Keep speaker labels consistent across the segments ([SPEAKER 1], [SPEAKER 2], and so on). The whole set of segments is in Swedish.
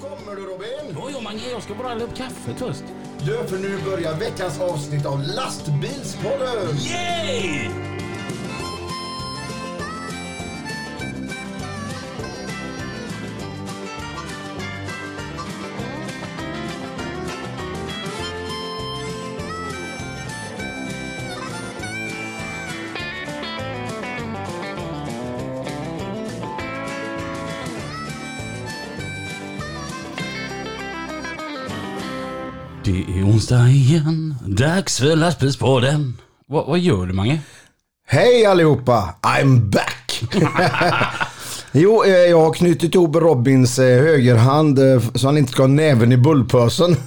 [SPEAKER 1] Kommer du Robin?
[SPEAKER 2] Jo, jo, Mange, jag ska bara hälla upp kaffet först.
[SPEAKER 1] Du, för nu börjar veckans avsnitt av Lastbilspodden!
[SPEAKER 2] Yay! Det är onsdag igen, dags för lastbilspodden. Vad, vad gör du, Mange?
[SPEAKER 1] Hej allihopa! I'm back! jo, eh, jag har knutit ihop Robins eh, högerhand eh, f- så han inte ska ha näven i bullpösen.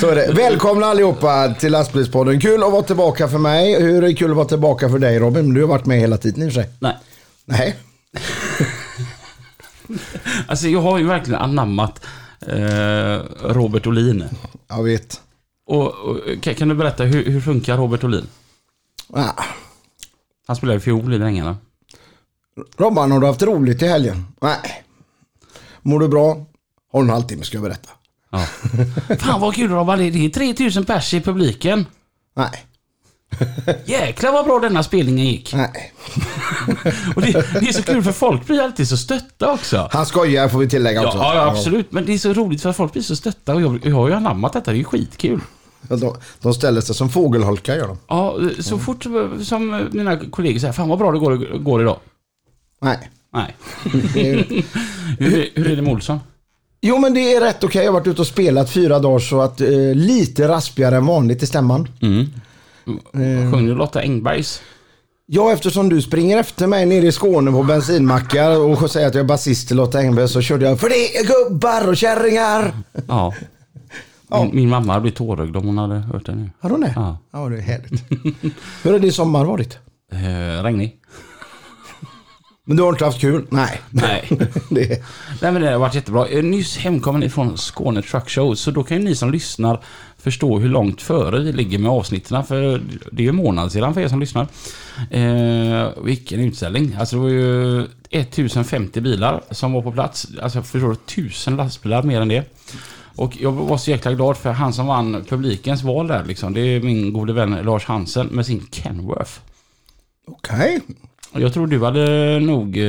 [SPEAKER 1] så är det. Välkomna allihopa till Lastbilspodden. Kul att vara tillbaka för mig. Hur är det kul att vara tillbaka för dig Robin? Du har varit med hela tiden i och för sig.
[SPEAKER 2] Nej.
[SPEAKER 1] Nej.
[SPEAKER 2] Alltså, jag har ju verkligen anammat eh, Robert Olin.
[SPEAKER 1] Jag vet.
[SPEAKER 2] Och, och, kan, kan du berätta, hur, hur funkar Robert Olin?
[SPEAKER 1] Ah.
[SPEAKER 2] Han spelar ju fiol i Drängarna.
[SPEAKER 1] Robban, har du haft roligt i helgen? Nej. Mår du bra? Har du en halvtimme ska jag berätta.
[SPEAKER 2] Ja. Fan vad kul Robban, det är 3000 pers i publiken.
[SPEAKER 1] Nej.
[SPEAKER 2] Jäklar vad bra denna spelningen gick.
[SPEAKER 1] Nej.
[SPEAKER 2] Och det, det är så kul för folk blir alltid så stötta också.
[SPEAKER 1] Han skojar får vi tillägga
[SPEAKER 2] Ja,
[SPEAKER 1] också.
[SPEAKER 2] Alltså, ja, absolut. Men det är så roligt för folk blir så stötta och jag, jag har ju anammat detta. Det är ju skitkul.
[SPEAKER 1] Ja, De, de ställer sig som fågelholkar gör de.
[SPEAKER 2] Ja, så fort som- som mina kollegor säger, fan vad bra det går, går idag.
[SPEAKER 1] Nej.
[SPEAKER 2] Nej. hur, är- hur är det med Olsson?
[SPEAKER 1] Jo men det är rätt okej. Jag har varit ute och spelat fyra dagar så att eh, lite raspigare än vanligt i stämman.
[SPEAKER 2] Sjöng du Lotta Engbergs?
[SPEAKER 1] Ja eftersom du springer efter mig nere i Skåne på bensinmackar och säger att jag är basist till Lotta Engberg så körde jag För det är gubbar och kärringar.
[SPEAKER 2] Ja. Min, min mamma hade blivit tårögd om hon hade hört det nu.
[SPEAKER 1] Har hon det?
[SPEAKER 2] Ja.
[SPEAKER 1] ja det är härligt. Hur har din sommar varit?
[SPEAKER 2] Eh, regnig?
[SPEAKER 1] Men du har inte haft kul? Nej.
[SPEAKER 2] Nej.
[SPEAKER 1] det är...
[SPEAKER 2] Nej men det har varit jättebra. Jag är nyss hemkommen ifrån Skåne Truck Show, så då kan ju ni som lyssnar förstå hur långt före vi ligger med avsnitten, för det är ju en månad sedan för er som lyssnar. Eh, vilken utställning. Alltså det var ju 1050 bilar som var på plats. Alltså jag förstår du, 1000 lastbilar mer än det. Och jag var så jäkla glad för han som vann publikens val där liksom. Det är min gode vän Lars Hansen med sin Kenworth.
[SPEAKER 1] Okej.
[SPEAKER 2] Och Jag tror du hade nog eh,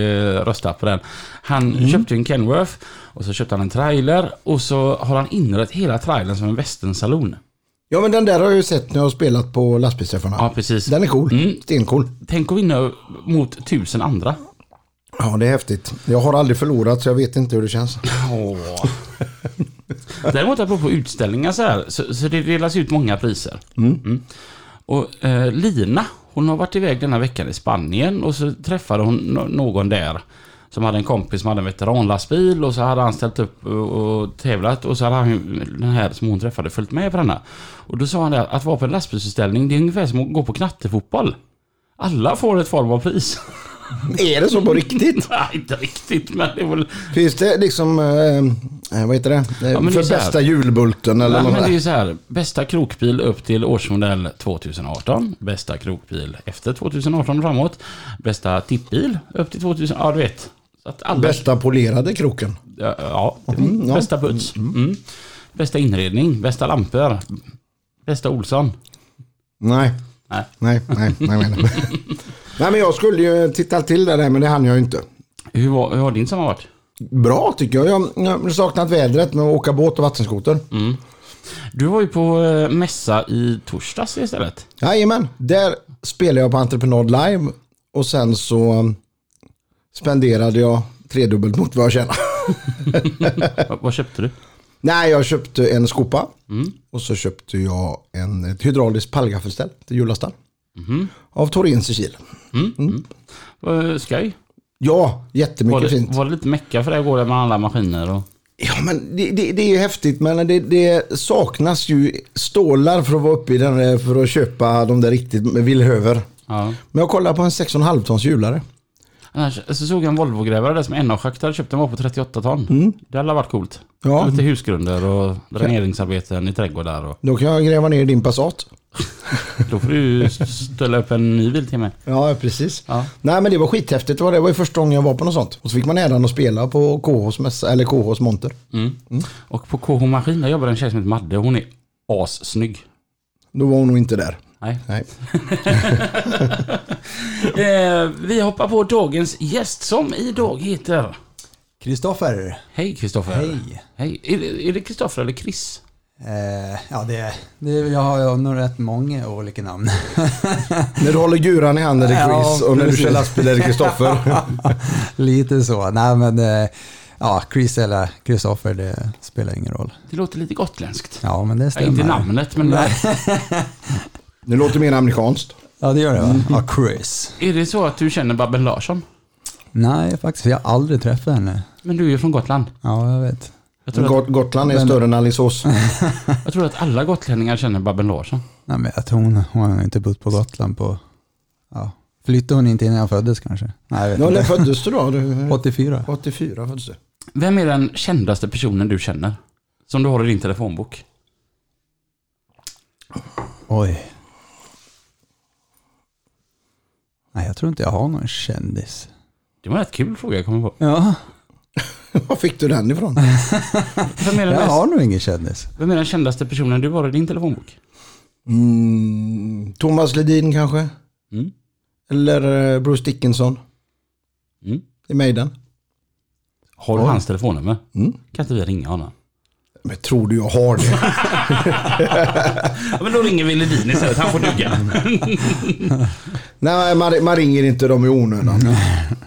[SPEAKER 2] röstat på den. Han köpte ju en Kenworth och så köpte han en trailer och så har han inrett hela trailern som en västernsalon.
[SPEAKER 1] Ja men den där har jag ju sett när jag har spelat på lastbilsträffarna.
[SPEAKER 2] Ja, Mm. precis.
[SPEAKER 1] Den är cool. Stencool.
[SPEAKER 2] Tänk att vinna mot tusen andra.
[SPEAKER 1] Ja det är häftigt. Jag har aldrig förlorat så jag vet inte hur det känns.
[SPEAKER 2] Åh. Däremot apropå utställningar så här, så, så det delas ut många priser. Mm. Och eh, Lina, hon har varit iväg denna veckan i Spanien och så träffade hon no- någon där som hade en kompis som hade en veteranlastbil och så hade han ställt upp och, och tävlat och så hade han, ju- den här som hon träffade följt med på denna. Och då sa han det, att vara på en lastbilsutställning det är ungefär som att gå på knattefotboll. Alla får ett form av pris.
[SPEAKER 1] är det så på riktigt?
[SPEAKER 2] Nej, inte riktigt men det är väl
[SPEAKER 1] Finns det liksom, eh, eh, vad heter det? Eh,
[SPEAKER 2] men det
[SPEAKER 1] För
[SPEAKER 2] är så här.
[SPEAKER 1] bästa julbulten eller
[SPEAKER 2] Ja,
[SPEAKER 1] något
[SPEAKER 2] men det är
[SPEAKER 1] där.
[SPEAKER 2] ju så här. Bästa krokbil upp till årsmodell 2018. Bästa krokbil efter 2018 och framåt. Bästa tippbil upp till 2000. Ja, du vet. Så att alla,
[SPEAKER 1] Bästa polerade kroken.
[SPEAKER 2] ja, ja, Bästa puts. Mm. Bästa inredning. Bästa lampor. Bästa Olsson.
[SPEAKER 1] Nej.
[SPEAKER 2] Nej.
[SPEAKER 1] Nej, nej, nej. Nej, nej. nej men jag skulle ju titta till det där men det hann jag ju inte.
[SPEAKER 2] Hur, var, hur har din sommar varit?
[SPEAKER 1] Bra tycker jag. Jag jag har saknat vädret med att åka båt och vattenskoter.
[SPEAKER 2] Du var ju på eh, mässa i torsdags istället.
[SPEAKER 1] Jajamän, där spelade jag på entreprenad live och sen så spenderade jag tredubbelt mot vad jag tjänade.
[SPEAKER 2] Va, vad köpte du?
[SPEAKER 1] Nej, jag köpte en skopa
[SPEAKER 2] Mm.
[SPEAKER 1] och så köpte jag en, ett hydrauliskt pallgaffelställ till Julastall.
[SPEAKER 2] Mhm.
[SPEAKER 1] Av Torins i Kil.
[SPEAKER 2] Eh, Skoj.
[SPEAKER 1] Ja,
[SPEAKER 2] Var
[SPEAKER 1] jättemycket
[SPEAKER 2] det,
[SPEAKER 1] fint.
[SPEAKER 2] var det lite mecka för dig att gå där med alla maskiner? Och...
[SPEAKER 1] Ja, men det, det, det är ju häftigt men det, det saknas ju stålar för att vara uppe i den där, för att köpa de där riktigt med villhöver.
[SPEAKER 2] Ja.
[SPEAKER 1] Men jag kollade på en 6,5 tons hjulare.
[SPEAKER 2] Annars så såg jag en Volvo-grävare där som en hade köpt. Den var på 38 ton. Det hade varit coolt.
[SPEAKER 1] Ja.
[SPEAKER 2] Lite husgrunder och dräneringsarbeten i trädgårdar. Och...
[SPEAKER 1] Då kan jag gräva ner din Passat.
[SPEAKER 2] Då får du ställa upp en ny bil till mig.
[SPEAKER 1] Ja, precis.
[SPEAKER 2] Ja.
[SPEAKER 1] Nej, men det var skithäftigt. Det var, det var ju första gången jag var på något sånt. Och så fick man äran att spela på KHs, mässa, eller KHs monter.
[SPEAKER 2] Mm. Och på KH Maskin, där jobbar en tjej som heter Madde. Hon är assnygg.
[SPEAKER 1] Då var hon nog inte där.
[SPEAKER 2] Nej.
[SPEAKER 1] Nej.
[SPEAKER 2] Eh, vi hoppar på dagens gäst som idag heter...
[SPEAKER 3] Kristoffer.
[SPEAKER 2] Hej Kristoffer.
[SPEAKER 3] Hej.
[SPEAKER 2] Hej. Är det- Är det Kristoffer eller Chris?
[SPEAKER 3] Eh, ja, det, det, jag har ju nog rätt många olika namn.
[SPEAKER 1] När du håller guran i handen är det
[SPEAKER 3] Ja,
[SPEAKER 1] Chris och när du
[SPEAKER 3] precis.
[SPEAKER 1] kör lastbil är det Kristoffer.
[SPEAKER 3] Lite så. Nej, men eh, ja, Chris eller Kristoffer, det spelar ingen roll.
[SPEAKER 2] Det låter lite gotländskt.
[SPEAKER 3] Ja, men det
[SPEAKER 2] Ja,
[SPEAKER 3] stämmer.
[SPEAKER 2] inte namnet, men
[SPEAKER 1] Nu låter det mer amerikanskt.
[SPEAKER 3] Ja, det gör det va? Ja, Chris.
[SPEAKER 2] är det så att du känner Babben Larsson?
[SPEAKER 3] Nej, faktiskt. Jag har aldrig träffat henne.
[SPEAKER 2] Men du är ju från Gotland.
[SPEAKER 3] Ja, jag vet.
[SPEAKER 2] Jag tror, att,
[SPEAKER 1] Got- Gotland är
[SPEAKER 3] Men-
[SPEAKER 1] större än Alingsås.
[SPEAKER 2] jag tror att alla gotlänningar känner Babben Larsson.
[SPEAKER 3] Nej, men jag tror hon, hon har inte bott på Gotland på... Ja. Flyttade hon inte innan jag föddes kanske? Nej, jag vet
[SPEAKER 1] Ja,
[SPEAKER 3] inte.
[SPEAKER 1] när föddes du då? Du,
[SPEAKER 3] 84.
[SPEAKER 1] 84 föddes du.
[SPEAKER 2] Vem är den kändaste personen du känner? Som du har i din telefonbok?
[SPEAKER 3] Oj. Nej, jag tror inte jag har någon kändis.
[SPEAKER 2] Det var en rätt kul fråga jag kommer på.
[SPEAKER 3] Ja,
[SPEAKER 1] Var fick du den ifrån?
[SPEAKER 2] Vem är den,
[SPEAKER 3] jag
[SPEAKER 2] mest,
[SPEAKER 3] har nog ingen kändis.
[SPEAKER 2] vem är den kändaste personen du har i din telefonbok?
[SPEAKER 1] Mm, Thomas Ledin kanske?
[SPEAKER 2] Mm.
[SPEAKER 1] Eller eh, Bruce Dickinson
[SPEAKER 2] Mm.
[SPEAKER 1] i Maiden?
[SPEAKER 2] Har du
[SPEAKER 1] Oj.
[SPEAKER 2] hans telefonnummer?
[SPEAKER 1] Mm.
[SPEAKER 2] Kan inte vi ringa honom?
[SPEAKER 1] Men tror du jag har det?
[SPEAKER 2] Ja, men då ringer vi Ledin istället. Han får duga.
[SPEAKER 1] Nej, man, man ringer inte dem i onödan.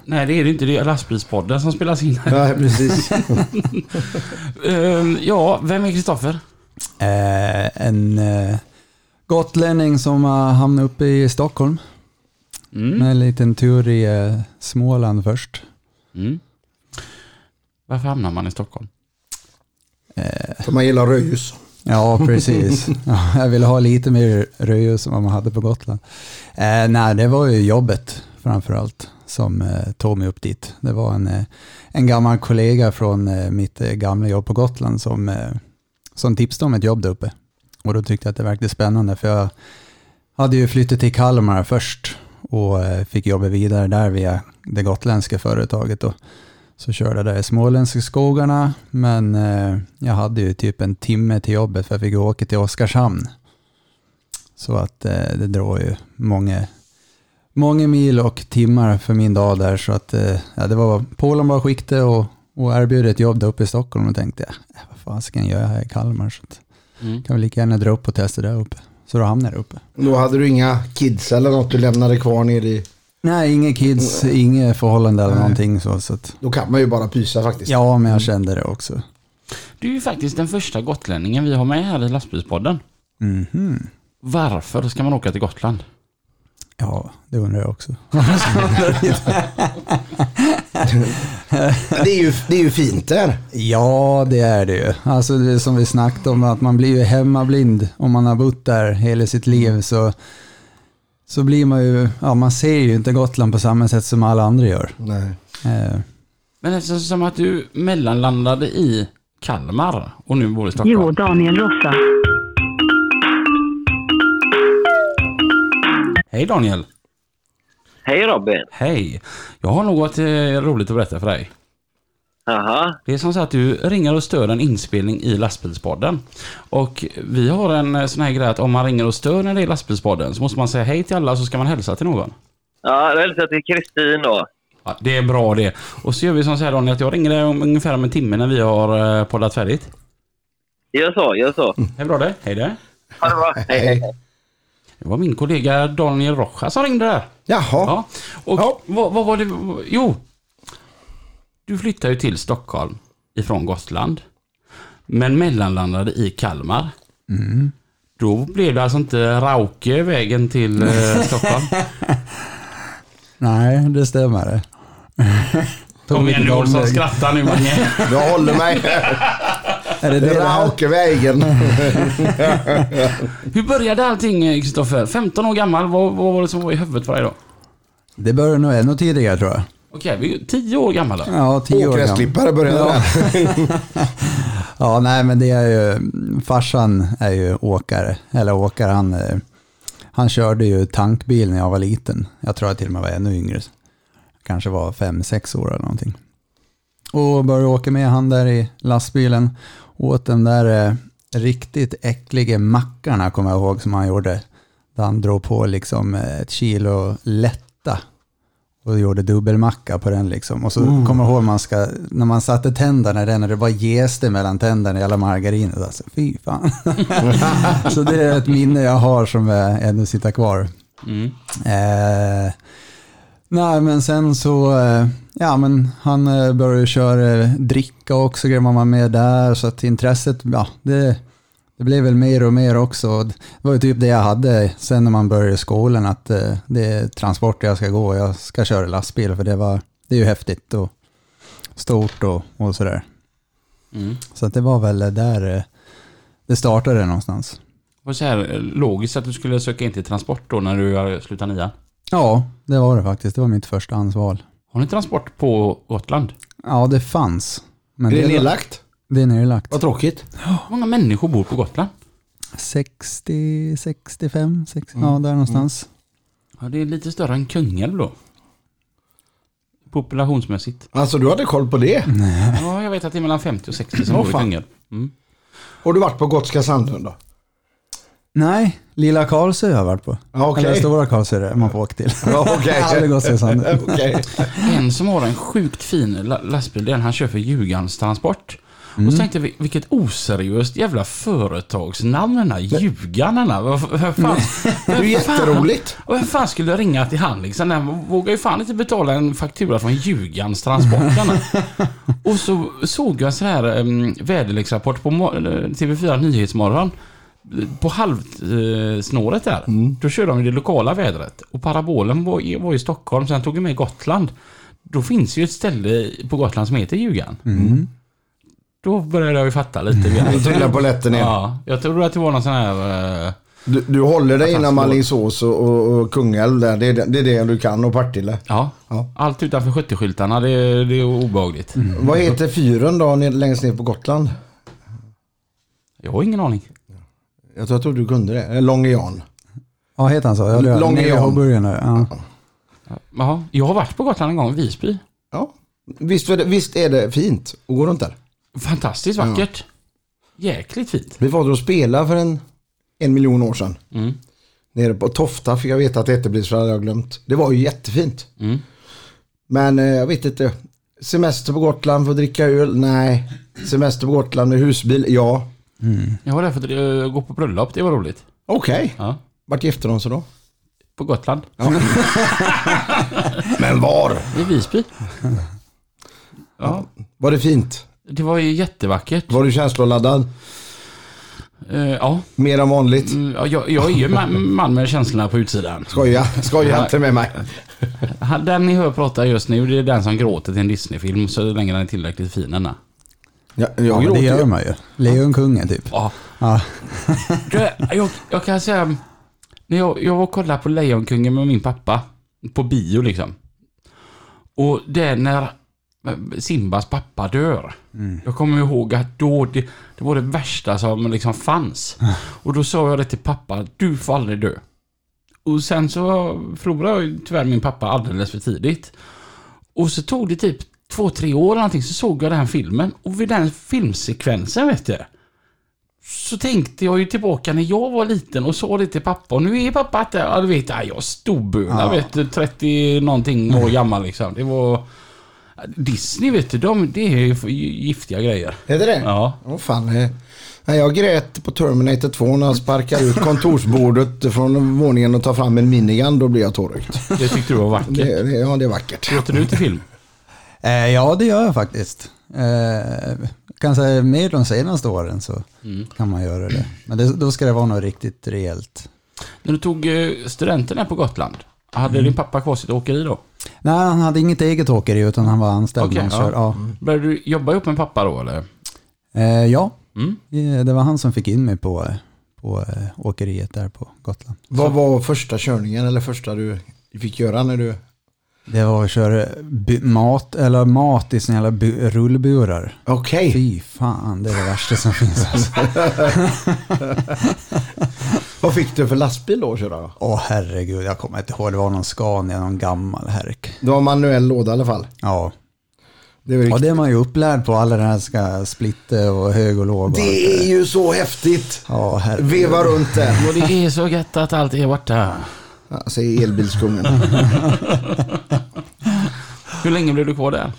[SPEAKER 2] Nej, det är det inte. Det är lastbilspodden som spelas in.
[SPEAKER 1] Nej, precis.
[SPEAKER 2] Ehm, ja, vem är Kristoffer?
[SPEAKER 3] Eh, en eh, gotlänning som har hamnat uppe i Stockholm
[SPEAKER 2] Mm.
[SPEAKER 3] med en liten tur i eh, Småland först.
[SPEAKER 2] Mm. Varför hamnar man i Stockholm?
[SPEAKER 1] För man gillar rödljus.
[SPEAKER 3] Ja, precis. Ja, jag ville ha lite mer röjus som man hade på Gotland. Eh, nej, det var ju jobbet framförallt som eh, tog mig upp dit. Det var en, eh, en gammal kollega från eh, mitt eh, gamla jobb på Gotland som, eh, som tipsade om ett jobb där uppe. Och då tyckte jag att det verkade spännande för jag hade ju flyttat till Kalmar först och eh, fick jobba vidare där via det gotländska företaget. Då. Så körde jag där i småländska skogarna, men eh, jag hade ju typ en timme till jobbet för jag fick åka till Oskarshamn. Så att eh, det drar ju många, många mil och timmar för min dag där. Så att eh, ja, det var, Polen bara skikte och, och erbjöd ett jobb där uppe i Stockholm och tänkte, "Eh, vad fan ska jag göra här i Kalmar? Så att,
[SPEAKER 2] Mm.
[SPEAKER 3] kan vi lika gärna dra upp och testa där uppe. Så då hamnade jag där uppe.
[SPEAKER 1] Då hade du inga kids eller något du lämnade kvar nere i...
[SPEAKER 3] Nej, inga kids, inga förhållande eller
[SPEAKER 1] Nej.
[SPEAKER 3] någonting så. så att,
[SPEAKER 1] Då kan man ju bara pysa faktiskt.
[SPEAKER 3] ja, men jag kände det också.
[SPEAKER 2] Du är ju faktiskt den första gotlänningen vi har med här i lastbilspodden.
[SPEAKER 3] Mhm.
[SPEAKER 2] Varför ska man åka till Gotland?
[SPEAKER 3] Ja, det undrar jag också.
[SPEAKER 1] Det, är ju, det är ju fint där.
[SPEAKER 3] Ja, det är det ju. Alltså det är som vi snackade om, att man blir ju hemmablind om man har bott där hela sitt liv. Så, så blir man ju, ja man ser ju inte Gotland på samma sätt som alla andra gör.
[SPEAKER 1] Nej.
[SPEAKER 3] Eh,
[SPEAKER 2] Men eftersom att du mellanlandade i Kalmar och nu bor i Stockholm.
[SPEAKER 4] Jo, Daniel Rossa.
[SPEAKER 2] Hej Daniel!
[SPEAKER 5] Hej Robin!
[SPEAKER 2] Hej! Jag har något eh, roligt att berätta för dig.
[SPEAKER 5] Aha.
[SPEAKER 2] Det är som så att du ringer och stör en inspelning i lastbilspodden. Och vi har en eh, sån här grej att om man ringer och stör när det är lastbilspodden så måste man säga hej till alla så ska man hälsa till någon.
[SPEAKER 5] Ja, jag hälsar till Kristin då.
[SPEAKER 2] Ja, det är bra det. Och så gör vi som så här Daniel att jag ringer dig om ungefär om en timme när vi har eh, poddat färdigt.
[SPEAKER 5] Gör så, gör så.
[SPEAKER 2] Hej bra det. Hej det.
[SPEAKER 5] Ha det bra. Hej, hej. hej.
[SPEAKER 2] Det var min kollega Daniel Rocha som ringde där.
[SPEAKER 1] Jaha.
[SPEAKER 2] Ja. Och
[SPEAKER 1] Ja.
[SPEAKER 2] Vad, vad var det? Jo. Du flyttade ju till Stockholm ifrån Gotland. Men mellanlandade i Kalmar. Då blev det alltså inte Rauke vägen till eh, Stockholm.
[SPEAKER 3] nej, det stämmer det.
[SPEAKER 2] Kom igen nu
[SPEAKER 3] Tog
[SPEAKER 2] Olsson,
[SPEAKER 3] lång väg.
[SPEAKER 2] skratta nu Mange.
[SPEAKER 1] Jag håller mig.
[SPEAKER 3] Är det det det här?
[SPEAKER 1] Raukevägen.
[SPEAKER 2] Hur började allting eh, Kristoffer? 15 år gammal, vad, vad var det som var i huvudet för dig då?
[SPEAKER 3] Det började nog ännu tidigare tror jag.
[SPEAKER 2] Okej, vi är ju 10 år gamla då.
[SPEAKER 3] Ja, tio år gammal.
[SPEAKER 1] Åkgräsklippare började
[SPEAKER 3] Ja.
[SPEAKER 1] där.
[SPEAKER 3] Ja, nej men det är ju, farsan är ju åkare, eller åkare, han eh, Han körde ju tankbil när jag var liten. Jag tror jag till och med var ännu yngre. Kanske var fem, sex år eller någonting. Och började åka med han där i lastbilen. Åt den där eh, riktigt äckliga mackarna kommer jag ihåg som han gjorde. Där han drog på liksom eh, ett kilo lätta och gjorde dubbelmacka på den liksom. Och så kommer jag ihåg man ska, när man satte tänderna i den och det bara jäste mellan tänderna i alla margarinet. Alltså, fy fan. så det är ett minne jag har som eh, ännu sitter kvar. Eh, nej men sen så, eh, ja men han eh, började ju köra eh, dricka också, grejer man var med där. Så att intresset, ja det, det blev väl mer och mer också. Och Det var ju typ det jag hade sen när man började skolan, att eh, det är transporter jag ska gå och jag ska köra lastbil för det, var, det är ju häftigt och stort och, och sådär.
[SPEAKER 2] Mm.
[SPEAKER 3] Så att det var väl där eh, det startade någonstans.
[SPEAKER 2] Var det så här eh, logiskt att du skulle söka in till transport då när du har slutat nian?
[SPEAKER 3] Ja, det var det faktiskt. Det var mitt första ansval.
[SPEAKER 2] Har ni transport på Gotland?
[SPEAKER 3] Ja, det fanns. Men
[SPEAKER 1] Är det nedlagt?
[SPEAKER 3] Det är nedlagt.
[SPEAKER 1] Vad tråkigt.
[SPEAKER 2] Hur många människor bor på Gotland?
[SPEAKER 3] 60, 65, 60,
[SPEAKER 1] Mm.
[SPEAKER 3] ja där någonstans.
[SPEAKER 2] Ja, det är lite större än Kungälv då. Populationsmässigt.
[SPEAKER 1] Alltså du hade koll på det?
[SPEAKER 2] Ja, jag vet att det är mellan 50 och 60 som
[SPEAKER 1] Åh,
[SPEAKER 2] bor i
[SPEAKER 1] fan.
[SPEAKER 2] Kungälv. Mm.
[SPEAKER 1] Har du varit på Gotska Sandön då?
[SPEAKER 3] Nej, Lilla Karlsö har jag varit på.
[SPEAKER 1] Ja, okej.
[SPEAKER 3] Eller Stora Karlsö det är man får åka till.
[SPEAKER 1] Ja, okej.
[SPEAKER 3] Aldrig gått till Sandö.
[SPEAKER 1] Okej.
[SPEAKER 2] En som har en sjukt fin la- lastbil, den han kör för Ljugans transport. Och
[SPEAKER 1] Mm.
[SPEAKER 2] så tänkte vi, vilket oseriöst jävla företagsnamn den här Ljugarn den här. Vad- vad fan-
[SPEAKER 1] Det är ju jätteroligt.
[SPEAKER 2] Och vem fan skulle ringa till han liksom? Den vågar ju fan inte betala en faktura från Ljugans transporterna. och så såg jag en sån här um, väderleksrapport på mo- eh, TV4 Nyhetsmorgon. På halvsnåret där, då körde de ju det lokala vädret. Och parabolen var i, var i Stockholm, sen tog de med Gotland. Då finns ju ett ställe på Gotland som heter Ljugan. Då började jag ju fatta lite grann.
[SPEAKER 1] Vi trillar på lätten igen.
[SPEAKER 2] Ja, jag trodde att det var någon sån här... eh,
[SPEAKER 1] Du, du håller dig innan
[SPEAKER 2] slår.
[SPEAKER 1] Mallingsås och, och, och Kungälv där. Det är, det det är det du kan och Partille.
[SPEAKER 2] Ja.
[SPEAKER 1] Ja. Mm.
[SPEAKER 2] Allt utanför 70-skyltarna, det, det är obehagligt.
[SPEAKER 1] Vad heter fyren då ned, längst ner på Gotland?
[SPEAKER 2] Jag har ingen aning.
[SPEAKER 1] Jag tror, jag tror du kunde det. Eh, Långe Jan.
[SPEAKER 3] Ja, heter han så? Ja, det är-
[SPEAKER 1] Långe
[SPEAKER 3] Nere i
[SPEAKER 1] John.
[SPEAKER 3] Hoburgen där, ja.
[SPEAKER 2] Jaha, jag har varit på Gotland en gång, Visby.
[SPEAKER 1] Ja. Visst, var det, visst är det fint att gå runt där?
[SPEAKER 2] Fantastiskt vackert. Jäkligt fint.
[SPEAKER 1] Vi var där och spelade för en, Mm. en miljon år sedan. Nere på Tofta fick jag veta att det hette Blips, för det hade jag glömt. Det var ju jättefint. Men eh, jag vet inte. Semester på Gotland för att dricka öl? Nej. Semester på Gotland med husbil? Ja.
[SPEAKER 2] Jag var där för att eh, gå på bröllop, det var roligt.
[SPEAKER 1] Okej.
[SPEAKER 2] Ja.
[SPEAKER 1] Vart gifte de sig då?
[SPEAKER 2] På Gotland,
[SPEAKER 1] Men var?
[SPEAKER 2] i Visby. Ja,
[SPEAKER 1] Var det fint?
[SPEAKER 2] det var ju jättevackert.
[SPEAKER 1] Var du känsloladdad?
[SPEAKER 2] Eh, Ja,
[SPEAKER 1] Mer än vanligt?
[SPEAKER 2] Mm, ja, jag, jag är ju ma- man med känslorna på utsidan.
[SPEAKER 1] Skoja, skoja inte med mig.
[SPEAKER 2] Han- Den ni hör prata just nu, det är den som gråter till en Disneyfilm så länge den är tillräckligt fin den är.
[SPEAKER 1] Jag,
[SPEAKER 3] Ja,
[SPEAKER 1] jag
[SPEAKER 3] men det gör
[SPEAKER 1] gråter.
[SPEAKER 3] man ju. Lejonkungen typ.
[SPEAKER 2] Ja.
[SPEAKER 3] Ja.
[SPEAKER 2] Du, jag, jag kan säga, när jag, jag var och kollade på Lejonkungen med min pappa, på bio liksom. Och det är när eh, Simbas pappa dör. Jag kommer ihåg att då, det, det var det värsta som liksom fanns. Och då sa jag det till pappa, du får aldrig dö. Och sen så förlorade jag ju tyvärr min pappa alldeles för tidigt. Och så tog det typ två, tre år eller någonting så såg jag den här filmen. Och vid den filmsekvensen vet du. Så tänkte jag ju tillbaka när jag var liten och sa det till pappa. Och nu är pappa inte... Ja du vet, ja, jag storböla vet du. 30 någonting år gammal liksom. Det var... Disney vet du, de, det är ju giftiga grejer.
[SPEAKER 1] Är det det?
[SPEAKER 2] Ja.
[SPEAKER 1] Åh fan. eh. Nej, jag grät på Terminator 2 när han sparkar ut kontorsbordet från våningen och tar fram en minigun. Då blir jag tårögd.
[SPEAKER 2] Det tyckte du var vackert.
[SPEAKER 1] Det, det, ja, det är vackert.
[SPEAKER 2] Gråter du till film?
[SPEAKER 3] Eh, ja, det gör jag faktiskt. Eh, jag kan säga mer de senaste åren så kan man göra det. Men det, då ska det vara något riktigt rejält.
[SPEAKER 2] När du tog eh, studenten här på Gotland, hade din pappa kvar sitt åkeri då?
[SPEAKER 3] Nej, han hade inget eget åkeri utan han var anställd.
[SPEAKER 2] Okej,
[SPEAKER 3] Okay, ja. Ja.
[SPEAKER 2] Började du jobba ihop med pappa då eller?
[SPEAKER 3] Eh, ja. Eh, det var han som fick in mig på, eh, på eh, åkeriet där på Gotland.
[SPEAKER 1] Vad var första körningen eller första du fick göra när du...
[SPEAKER 3] Det var att köra bu- mat, eller mat i såna jävla bu- rullburar.
[SPEAKER 1] Okej.
[SPEAKER 3] Fy fan, det är det värsta som finns. Alltså.
[SPEAKER 1] Vad fick du för lastbil då att köra?
[SPEAKER 3] Åh herregud, jag kommer inte ihåg. Det var någon Scania, någon gammal härk.
[SPEAKER 1] Du har manuell låda i alla fall.
[SPEAKER 3] Ja.
[SPEAKER 1] Det är, väl
[SPEAKER 3] ja, det är man ju upplärd på. Alla den här ska splitter och hög och låg. och allt
[SPEAKER 1] det är ju så häftigt.
[SPEAKER 3] Ja, herregud.
[SPEAKER 1] Veva runt den.
[SPEAKER 2] Och det är så gött att allt är borta.
[SPEAKER 1] Ja, Säger elbilskungen.
[SPEAKER 2] Hur länge blev du kvar där?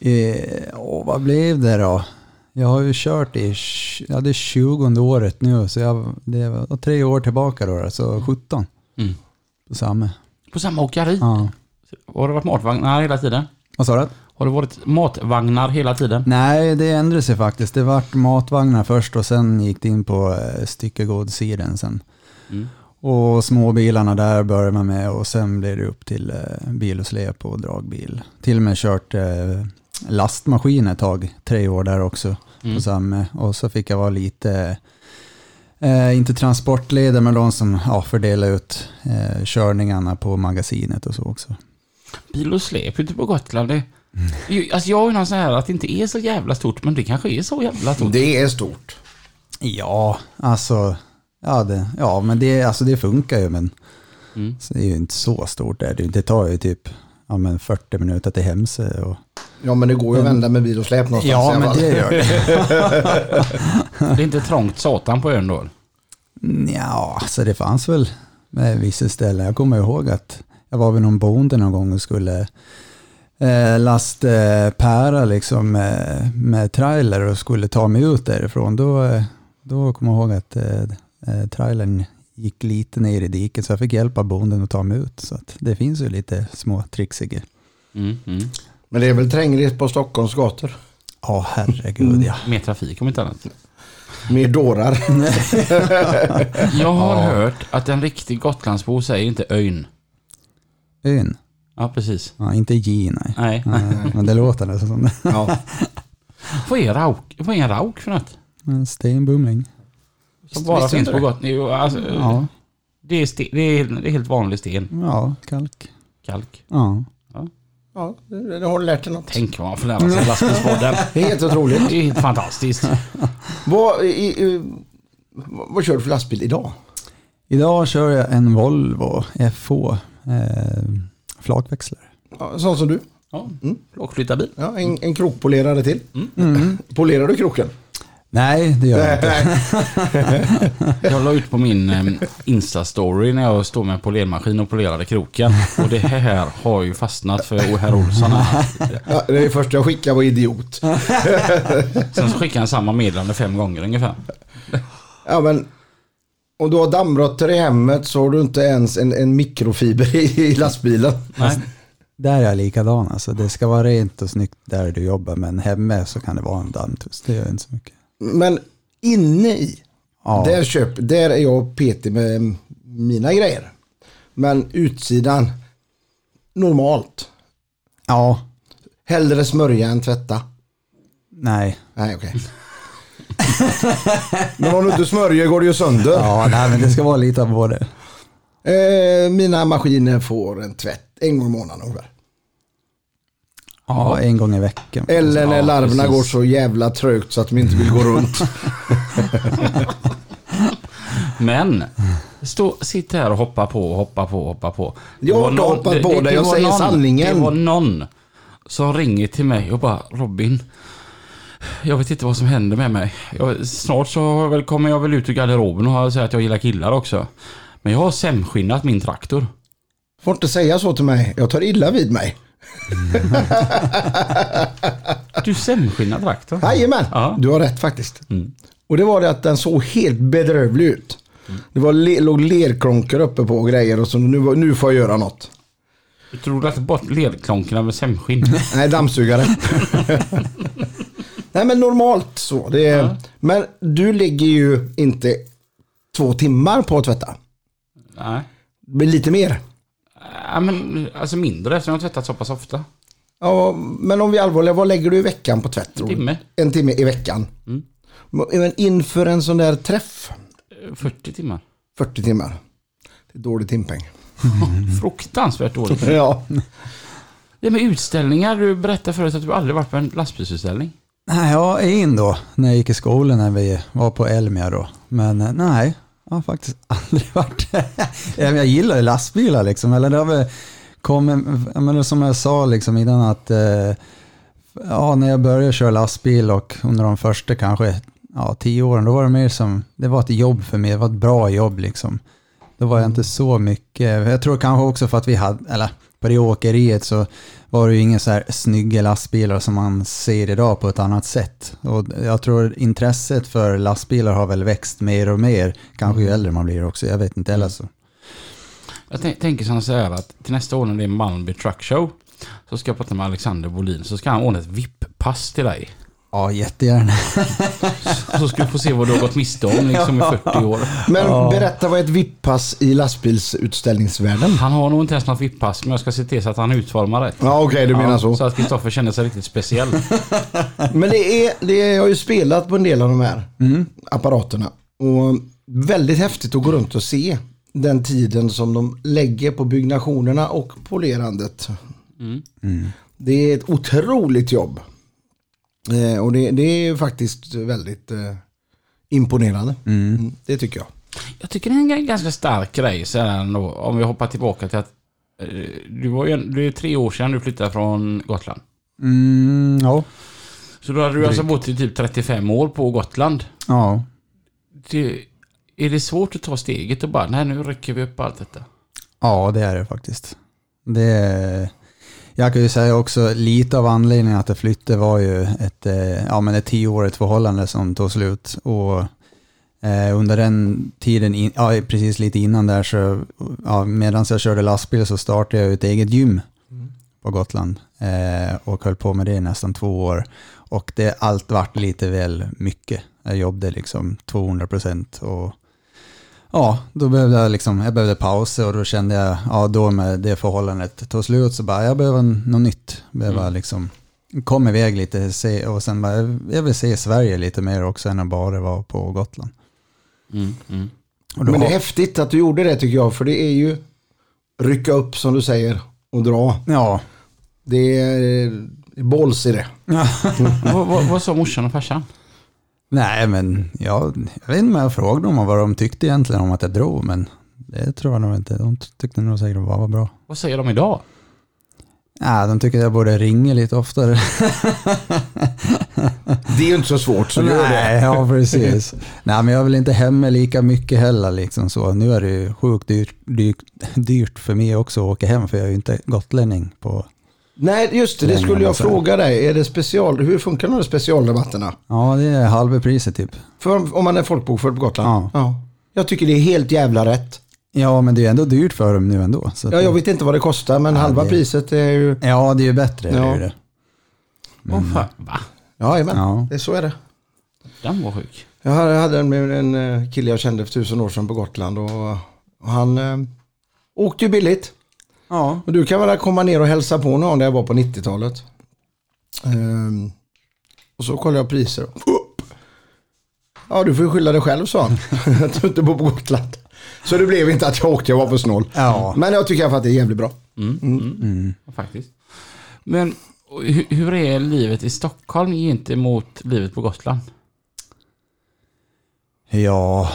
[SPEAKER 3] Eh, åh, vad blev det då? Jag har ju kört i, tj- ja det är 20 året nu, så jag, det var och tre år tillbaka då, så 17
[SPEAKER 2] Mm.
[SPEAKER 3] på samma.
[SPEAKER 2] På samma åkeri?
[SPEAKER 3] Ja.
[SPEAKER 2] Har det varit matvagnar hela tiden?
[SPEAKER 3] Vad sa du?
[SPEAKER 2] Har det varit matvagnar hela tiden?
[SPEAKER 3] Nej, det ändrade sig faktiskt. Det vart matvagnar först och sen gick det in på eh, styckegodssidan sen. Och småbilarna där började man med och sen blev det upp till eh, bil och släp och dragbil. Till och med kört eh, lastmaskin ett tag, tre år där också. På samma. Och så fick jag vara lite, eh, inte transportledare men de som ja, fördelade ut eh, körningarna på magasinet och så också.
[SPEAKER 2] Bil och släp ute på Gotland. Det...
[SPEAKER 1] Mm.
[SPEAKER 2] Ju- Alltså jag har ju någon sån här att det inte är så jävla stort, men det kanske är så jävla stort.
[SPEAKER 1] Det är stort.
[SPEAKER 3] Ja, alltså, ja, det, ja men det, alltså det funkar ju men så det är ju inte så stort där. Det, är ju inte- det tar ju typ ja, men 40 minuter till Hemsö. Och,
[SPEAKER 1] Ja men det går ju att vända med bil och släp någonstans i
[SPEAKER 3] ja,
[SPEAKER 1] alla
[SPEAKER 3] men
[SPEAKER 1] fall.
[SPEAKER 3] det gör det.
[SPEAKER 2] Det är inte trångt satan på ön då.
[SPEAKER 3] Ja, alltså det fanns väl med vissa ställen. Jag kommer ihåg att jag var vid någon bonde någon gång och skulle eh, lasta eh, pära liksom eh, med trailer och skulle ta mig ut därifrån. Då, eh, då kommer jag ihåg att eh, eh, trailern gick lite ner i diket så jag fick hjälpa bonden att ta mig ut. Så att det finns ju lite små tricksiga.
[SPEAKER 2] Mm, mm.
[SPEAKER 1] Men det är väl trängligt på Stockholms gator.
[SPEAKER 3] Ja, herregud ja.
[SPEAKER 2] Mer trafik om inte annat.
[SPEAKER 1] Med dårar.
[SPEAKER 2] Jag har hört att en riktig Gotlandsbo säger inte öyn.
[SPEAKER 3] Ön.
[SPEAKER 2] Ja, precis.
[SPEAKER 3] Ja, inte J nej.
[SPEAKER 2] Nej.
[SPEAKER 3] Eh, Men det låter nästan som det.
[SPEAKER 1] Ja.
[SPEAKER 2] Vad är rauk? Vad är en rauk för något?
[SPEAKER 3] En Stenbumling.
[SPEAKER 2] Som bara
[SPEAKER 1] visste
[SPEAKER 2] finns
[SPEAKER 1] du
[SPEAKER 2] på
[SPEAKER 1] det?
[SPEAKER 2] Gotland. Jo, Alltså,
[SPEAKER 3] Ja,
[SPEAKER 2] det, är sten, det, är, det är helt vanlig sten.
[SPEAKER 3] ja, kalk.
[SPEAKER 2] Kalk.
[SPEAKER 3] Ja.
[SPEAKER 1] ja, det det har du lärt dig något.
[SPEAKER 2] Tänk vad man får lära sig i lastbilspodden.
[SPEAKER 1] Mm. Det är helt otroligt. Mm.
[SPEAKER 2] Det är helt fantastiskt.
[SPEAKER 1] Vad, i, i, vad kör du för lastbil idag?
[SPEAKER 3] Idag kör jag en Volvo FH eh, flakväxlare.
[SPEAKER 1] Ja, sån som du.
[SPEAKER 2] Ja, Mm. Flockflyttarbil.
[SPEAKER 1] Ja, en, en krokpolerare till. Mm. Polerar du kroken?
[SPEAKER 3] Nej, det gör jag inte.
[SPEAKER 1] Nej.
[SPEAKER 2] Jag la ut på min em, Insta-story när jag stod med en polermaskin och polerade kroken. Och det här har ju fastnat för herr Olsson. här.
[SPEAKER 1] Ja, det är det första jag skickar var idiot.
[SPEAKER 2] Sen så skickade han samma meddelande fem gånger ungefär.
[SPEAKER 1] Ja, men, om du har dammråttor i hemmet så har du inte ens en, en mikrofiber i, i lastbilen.
[SPEAKER 2] Nej.
[SPEAKER 3] Där är jag likadan alltså. Det ska vara rent och snyggt där du jobbar men hemma så kan det vara en dammtuss. Det gör inte så mycket.
[SPEAKER 1] Men inne i,
[SPEAKER 3] Ja.
[SPEAKER 1] där, köp, där är jag petig med mina grejer. Men utsidan, normalt.
[SPEAKER 3] Ja,
[SPEAKER 1] Hellre smörja än tvätta.
[SPEAKER 3] nej.
[SPEAKER 1] Nej, okej. Men om du inte smörjer går det ju sönder.
[SPEAKER 3] Ja, nej men det ska vara lite av både.
[SPEAKER 1] Eh, mina maskiner får en tvätt en gång i månaden ungefär.
[SPEAKER 3] Ja, en gång i veckan.
[SPEAKER 1] Eller när
[SPEAKER 2] Ja,
[SPEAKER 1] larverna
[SPEAKER 2] precis.
[SPEAKER 1] går så jävla trögt så att de inte vill gå runt.
[SPEAKER 2] Men, stå, sitt här och hoppa på, hoppa på, hoppa på. Det
[SPEAKER 1] Jag har
[SPEAKER 2] var
[SPEAKER 1] inte
[SPEAKER 2] någon-
[SPEAKER 1] hoppat på dig, jag
[SPEAKER 2] var
[SPEAKER 1] säger
[SPEAKER 2] någon,
[SPEAKER 1] sanningen.
[SPEAKER 2] Det var någon som ringer till mig och bara Robin, jag vet inte vad som händer med mig. Jag, snart så har jag väl, kommer jag väl ut ur garderoben och säger att jag gillar killar också. Men jag har sämskinnat min traktor.
[SPEAKER 1] Får inte säga så till mig. Jag tar illa vid mig.
[SPEAKER 2] Du sämskinnat traktorn?
[SPEAKER 1] Jajamän,
[SPEAKER 2] Ja. Mm.
[SPEAKER 1] du har rätt faktiskt. Och det var det att den såg helt bedrövlig ut. Det var le, låg lerkronkor uppe på och grejer och så nu, var- nu får jag göra något.
[SPEAKER 2] Du trodde att bort lerklonkarna med sämskinn?
[SPEAKER 1] Nej, dammsugare. Nej, men normalt så. Det är, Men du ligger ju inte två timmar på att tvätta.
[SPEAKER 2] Nej.
[SPEAKER 1] Men Lite mer.
[SPEAKER 2] Ja, men alltså mindre eftersom jag har tvättat så pass ofta.
[SPEAKER 1] Ja, men om vi är allvarliga, vad lägger du i veckan på tvätt? tror du?
[SPEAKER 2] timme. Mm.
[SPEAKER 1] En timme i veckan. Men inför en sån där träff,
[SPEAKER 2] 40 timmar.
[SPEAKER 1] 40 timmar. Det är dålig timpeng.
[SPEAKER 2] Fruktansvärt dåligt.
[SPEAKER 1] Ja.
[SPEAKER 2] Det med utställningar, du berättade förut att du aldrig varit på en lastbilsutställning.
[SPEAKER 3] Nej, ja, en då, när jag gick i skolan när vi var på Elmia då. Men eh, nej, Jag har faktiskt aldrig varit där. Ja, men Jag gillar ju lastbilar liksom. Eller det har väl kommit, ja, men som jag sa liksom innan att eh, ja, när jag började köra lastbil och under de första kanske ja, tio åren, då var det mer som, det var ett jobb för mig, det var ett bra jobb liksom. Då var jag inte så mycket, jag tror kanske också för att vi hade, eller på det åkeriet så var det ju inga så här snygga lastbilar som man ser idag på ett annat sätt. Och jag tror intresset för lastbilar har väl växt mer och mer, kanske ju äldre man blir också, jag vet inte heller så.
[SPEAKER 2] Jag tän- tänker som så här att till nästa år när det är Malmby Truck Show så ska jag prata med Alexander Bolin så ska han ordna ett VIP-pass till dig.
[SPEAKER 3] Ja, jättegärna.
[SPEAKER 2] Så ska du få se vad du har gått miste om liksom i 40 år.
[SPEAKER 1] Men berätta vad är ett VIP-pass i lastbilsutställningsvärlden?
[SPEAKER 2] Han har nog inte ens något VIP-pass men jag ska se till så att han utformar det.
[SPEAKER 1] Ja, okej, du menar
[SPEAKER 2] Ja,
[SPEAKER 1] så.
[SPEAKER 2] Så att Kristoffer känner sig riktigt speciell.
[SPEAKER 1] Men det är, det är, jag har ju spelat på en del av de här apparaterna. Och väldigt häftigt att gå runt och se den tiden som de lägger på byggnationerna och polerandet. Mm. Det är ett otroligt jobb. Eh, och det, det är faktiskt väldigt eh, imponerande. Mm, Det tycker jag.
[SPEAKER 2] Jag tycker det är en g- ganska stark grej sen ändå, om vi hoppar tillbaka till att eh, du var ju, en- det är tre år sedan du flyttade från Gotland.
[SPEAKER 3] Mm, ja.
[SPEAKER 2] Så då hade du alltså bott i typ 35 år på Gotland.
[SPEAKER 3] ja.
[SPEAKER 2] Det, är det svårt att ta steget och bara, nej nu rycker vi upp allt detta?
[SPEAKER 3] Ja, det är det faktiskt. Det, jag kan ju säga också lite av anledningen att jag flyttade var ju ett, eh, ja, men ett tioårigt förhållande som tog slut. Och eh, under den tiden, in, ja, precis lite innan där, så, ja, medan jag körde lastbil så startade jag ett eget gym på Gotland eh, och höll på med det i nästan två år. Och det allt vart lite väl mycket. Jag jobbade liksom 200 procent och Ja, då behövde jag liksom, jag behövde pauser och då kände jag, ja då med det förhållandet tog slut så bara, jag behöver något nytt. Behöver
[SPEAKER 1] Mm.
[SPEAKER 3] liksom, kom iväg lite se, och sen bara, jag vill se Sverige lite mer också än att bara vara på Gotland. Och då,
[SPEAKER 1] Mm, Men det är
[SPEAKER 3] har-
[SPEAKER 1] häftigt att du gjorde det tycker jag. För det är ju rycka upp som du säger och dra.
[SPEAKER 3] ja,
[SPEAKER 1] Det är eh, balls i det.
[SPEAKER 2] vad, vad, vad sa morsan och farsan?
[SPEAKER 3] nej men jag, jag vet inte om jag frågade dem vad de tyckte egentligen om att jag drog, men det tror jag nog inte. De tyckte nog säkert bara var bra.
[SPEAKER 2] Vad säger de idag?
[SPEAKER 3] Nej, de tycker att jag borde ringa lite oftare.
[SPEAKER 1] Det är ju inte så svårt så gör det.
[SPEAKER 3] Nej, ja precis. Nej, men jag vill inte hem med lika mycket heller. Liksom så. Nu är det ju sjukt dyrt, dyrt, dyrt för mig också att åka hem, för jag är ju inte gotlänning. På,
[SPEAKER 1] Nej, just det. Det
[SPEAKER 3] Länge
[SPEAKER 1] skulle jag
[SPEAKER 3] man säger.
[SPEAKER 1] fråga dig. Är det special, hur funkar de här specialrabatterna?
[SPEAKER 3] ja, det är halva priset typ.
[SPEAKER 1] För om- om man är folkbokförd på Gotland?
[SPEAKER 3] Ja.
[SPEAKER 1] Jag tycker det är helt jävla rätt.
[SPEAKER 3] Ja, men det är ju ändå dyrt för dem nu ändå. Så att-
[SPEAKER 1] Ja, jag vet inte vad det kostar, men halva
[SPEAKER 3] det-
[SPEAKER 1] priset är ju...
[SPEAKER 3] ja, det är ju bättre. Det är ju
[SPEAKER 1] Ja.
[SPEAKER 3] det.
[SPEAKER 2] Åh fan, va?
[SPEAKER 1] Ja,
[SPEAKER 3] Ja.
[SPEAKER 1] det så är det.
[SPEAKER 2] Den var sjuk.
[SPEAKER 1] Jag hade- hade en, en eh, kille jag kände för tusen år sedan på Gotland och, och han eh, åkte ju billigt.
[SPEAKER 3] Ja.
[SPEAKER 1] Och du kan väl komma ner och hälsa på någon där jag var på 90-talet. Ehm, och så kollade jag priser. Upp! Ja, du får ju skylla dig själv, sa han. jag tror inte jag bor på Gotland. Så det blev inte att jag åkte, jag var för snål.
[SPEAKER 3] Ja.
[SPEAKER 1] Men jag tycker i alla fall att det är jävligt bra.
[SPEAKER 2] Ja, Faktiskt. Men och hur, hur är livet i Stockholm gentemot livet på Gotland?
[SPEAKER 3] ja,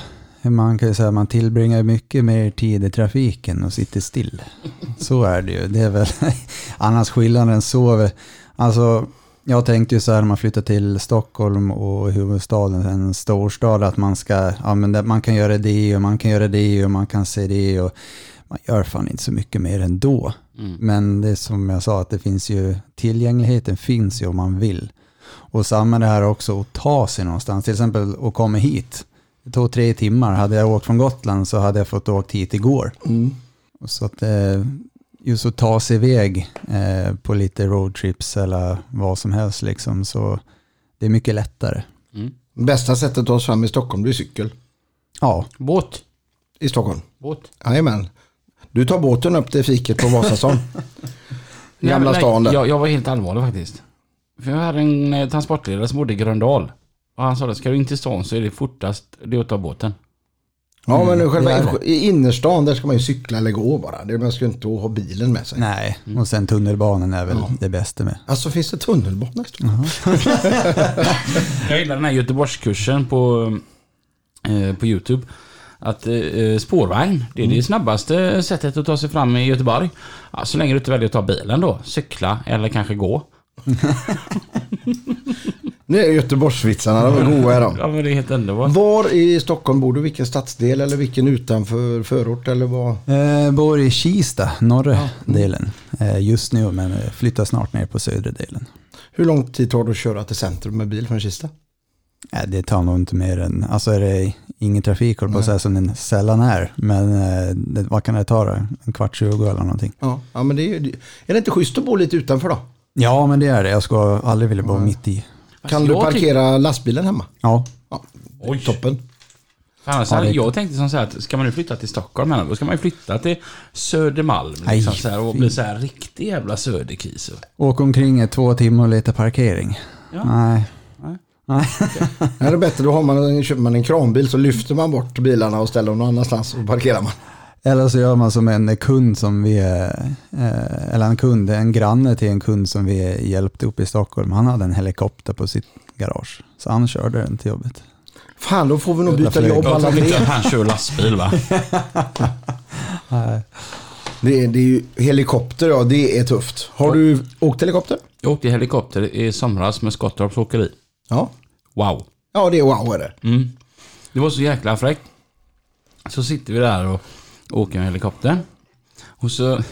[SPEAKER 3] man kan ju säga att man tillbringar mycket mer tid i trafiken och sitter still. Så är det ju. Det är väl annars skillnaden så. Alltså, jag tänkte ju så här när man flyttar till Stockholm och huvudstaden, en storstad, att man ska, ja men det- man kan göra det och man kan göra det och man kan se det och man gör fan inte så mycket mer ändå. Men det är som jag sa, att det finns ju, tillgängligheten finns ju om man vill. Och samma det här också att ta sig någonstans, till exempel att komma hit. Det tog tre timmar, hade jag åkt från Gotland så hade jag fått åkt hit igår. Och Så att eh, just att ta sig iväg eh, på lite roadtrips eller vad som helst liksom, så det är mycket lättare.
[SPEAKER 1] Bästa sättet att ta oss fram i Stockholm, det är cykel.
[SPEAKER 3] Ja,
[SPEAKER 2] Båt?
[SPEAKER 1] I Stockholm.
[SPEAKER 2] Båt?
[SPEAKER 1] Jajamän. Du tar båten upp till fiket på Vasastan.
[SPEAKER 2] Nej,
[SPEAKER 1] Gamla
[SPEAKER 2] men nej,
[SPEAKER 1] stan där.
[SPEAKER 2] Jag, jag var helt allvarlig faktiskt. För jag hade en eh, transportledare som bodde i Gröndal. Och han sa det, ska du in till stan så är det fortast det är att ta båten.
[SPEAKER 1] Ja, men nu själva
[SPEAKER 3] det är
[SPEAKER 1] i innerstan, där ska man ju cykla eller gå bara. Det- Man ska ju inte ha bilen med sig.
[SPEAKER 3] nej, och sen tunnelbanan är väl det bästa med.
[SPEAKER 1] Alltså finns det tunnelbana i Stockholm?
[SPEAKER 2] Jag gillar den här Göteborgskursen på, eh, på YouTube. att eh, spårvagn, det är
[SPEAKER 1] Mm.
[SPEAKER 2] det snabbaste sättet att ta sig fram i Göteborg. Ja, så länge du inte väljer att ta bilen då, cykla eller kanske gå.
[SPEAKER 1] Nu är Göteborgsvitsarna, de är goa är de.
[SPEAKER 2] Ja, men det är helt underbart.
[SPEAKER 1] Var i Stockholm bor du? Vilken stadsdel eller vilken utanför förort eller vad?
[SPEAKER 3] Eh, bor i Kista, norra delen eh, just nu, men eh, flyttar snart ner på södra delen.
[SPEAKER 1] Hur lång tid tar det att köra till centrum med bil från Kista?
[SPEAKER 3] Eh, det tar nog inte mer än, alltså är det ingen trafik, håller på att säga, som den sällan är, men eh, det, vad kan det ta då? En kvart, tjugo eller någonting?
[SPEAKER 1] Ja, ja men det är, ju- det- är det inte schysst att bo lite utanför då?
[SPEAKER 2] Alltså,
[SPEAKER 3] Ja, men det är det. Jag skulle aldrig vilja bo mitt i.
[SPEAKER 1] Kan du
[SPEAKER 2] jag tyck-
[SPEAKER 1] parkera lastbilen hemma?
[SPEAKER 3] Ja,
[SPEAKER 1] Ja,
[SPEAKER 2] Oj.
[SPEAKER 1] toppen.
[SPEAKER 2] För Annars hade jag tänkte som så här att ska man nu flytta till Stockholm menar du, då ska man ju flytta till Södermalm
[SPEAKER 3] Aj,
[SPEAKER 2] liksom, så här, och
[SPEAKER 3] fy.
[SPEAKER 2] bli så här riktig jävla söderkis.
[SPEAKER 3] åka omkring i två timmar och leta parkering.
[SPEAKER 2] Ja.
[SPEAKER 3] Nej.
[SPEAKER 2] Nej.
[SPEAKER 3] Nej.
[SPEAKER 1] Här är det bättre, då har man, köper man en kranbil så lyfter man bort bilarna och ställer dem någon annanstans och parkerar man.
[SPEAKER 3] Eller så gör man som en kund som vi, eh, eller en kund, en granne till en kund som vi hjälpte upp i Stockholm. Han hade en helikopter på sitt garage, så han körde den till jobbet.
[SPEAKER 1] Fan, då får vi nog byta
[SPEAKER 3] Därför är det
[SPEAKER 1] jobb
[SPEAKER 2] Jag
[SPEAKER 1] alla
[SPEAKER 2] tror inte
[SPEAKER 1] tre.
[SPEAKER 2] att han kör lastbil va?
[SPEAKER 1] Det är, det är ju helikopter, ja det är tufft. Har du åkt helikopter?
[SPEAKER 2] Jag åkte i helikopter i somras med Skottorps Åkeri.
[SPEAKER 1] Ja.
[SPEAKER 2] Wow.
[SPEAKER 1] Ja, det är wow är det.
[SPEAKER 2] Mm. Det var så jäkla fräckt. Så sitter vi där och åker med helikoptern. Och så,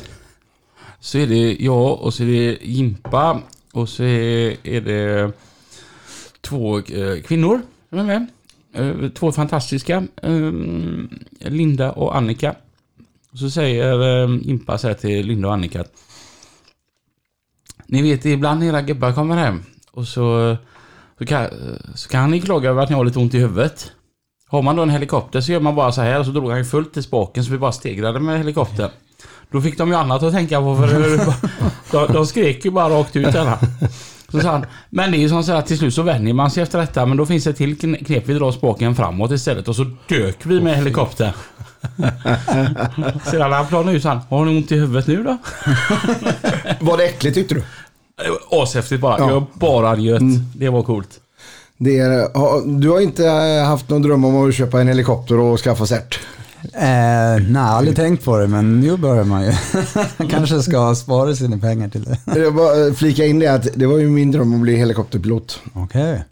[SPEAKER 2] så är det jag och så är det Jimpa och så är, är det två eh, kvinnor som är med. Eh, Två fantastiska. eh, Linda och Annika. Och så säger eh, Jimpa så här till Linda och Annika att Ni vet ibland när era gubbar kommer hem och så, så, kan, så kan ni klaga över att ni har lite ont i huvudet. Har man då en helikopter så gör man bara så här och så drog han ju fullt i spaken så vi bara stegrade med helikoptern. Då fick de ju annat att tänka på för de, de skrek ju bara rakt ut alla. Så sa han, men det är ju som så här till slut så vänjer man sig efter detta men då finns det till kn- knep, vi drar spaken framåt istället och så dök vi med helikoptern. Sedan han planade ut så han, har ni ont i huvudet nu då?
[SPEAKER 1] Var det äckligt tyckte du?
[SPEAKER 2] Det var Ashäftigt bara,
[SPEAKER 1] Ja.
[SPEAKER 2] jag bara njöt. Det var coolt.
[SPEAKER 1] Det är, ha- du har inte eh, haft någon dröm om att köpa en helikopter och skaffa cert?
[SPEAKER 3] Eh, nej, aldrig tänkt på det, men nu börjar man ju. Kanske ska spara sina pengar till det.
[SPEAKER 1] Jag bara eh, flika in det att det var ju min dröm att bli helikopterpilot.
[SPEAKER 3] Okej,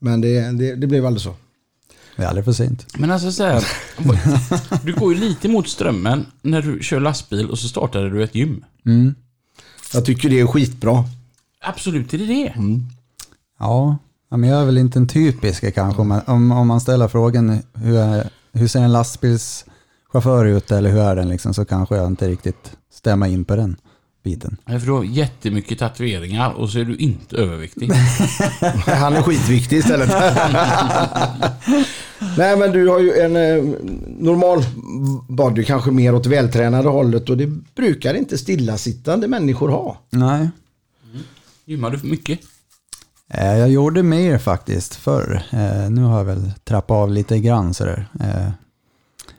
[SPEAKER 1] Men det, det, det blev aldrig så.
[SPEAKER 3] det är aldrig för sent.
[SPEAKER 2] Men alltså så här, du går ju lite mot strömmen när du kör lastbil och så startade du ett gym.
[SPEAKER 1] Jag tycker det är skitbra.
[SPEAKER 2] Absolut är det Mm. det.
[SPEAKER 3] Ja, ja, men jag är väl inte den typiska kanske. Om man, om, om man ställer frågan hur, är, hur ser en lastbilschaufför ut eller hur är den liksom, så kanske jag inte riktigt stämmer in på den biten.
[SPEAKER 2] Nej, För du har jättemycket tatueringar och så är du inte överviktig.
[SPEAKER 1] Han är skitviktig istället. Nej men du har ju en eh, normal body, kanske mer åt vältränade hållet och det brukar inte stillasittande människor ha.
[SPEAKER 3] Nej.
[SPEAKER 2] Gymmar du för mycket?
[SPEAKER 3] Eh, Jag gjorde mer faktiskt förr. Eh, Nu har jag väl trappat av lite grann sådär. Eh,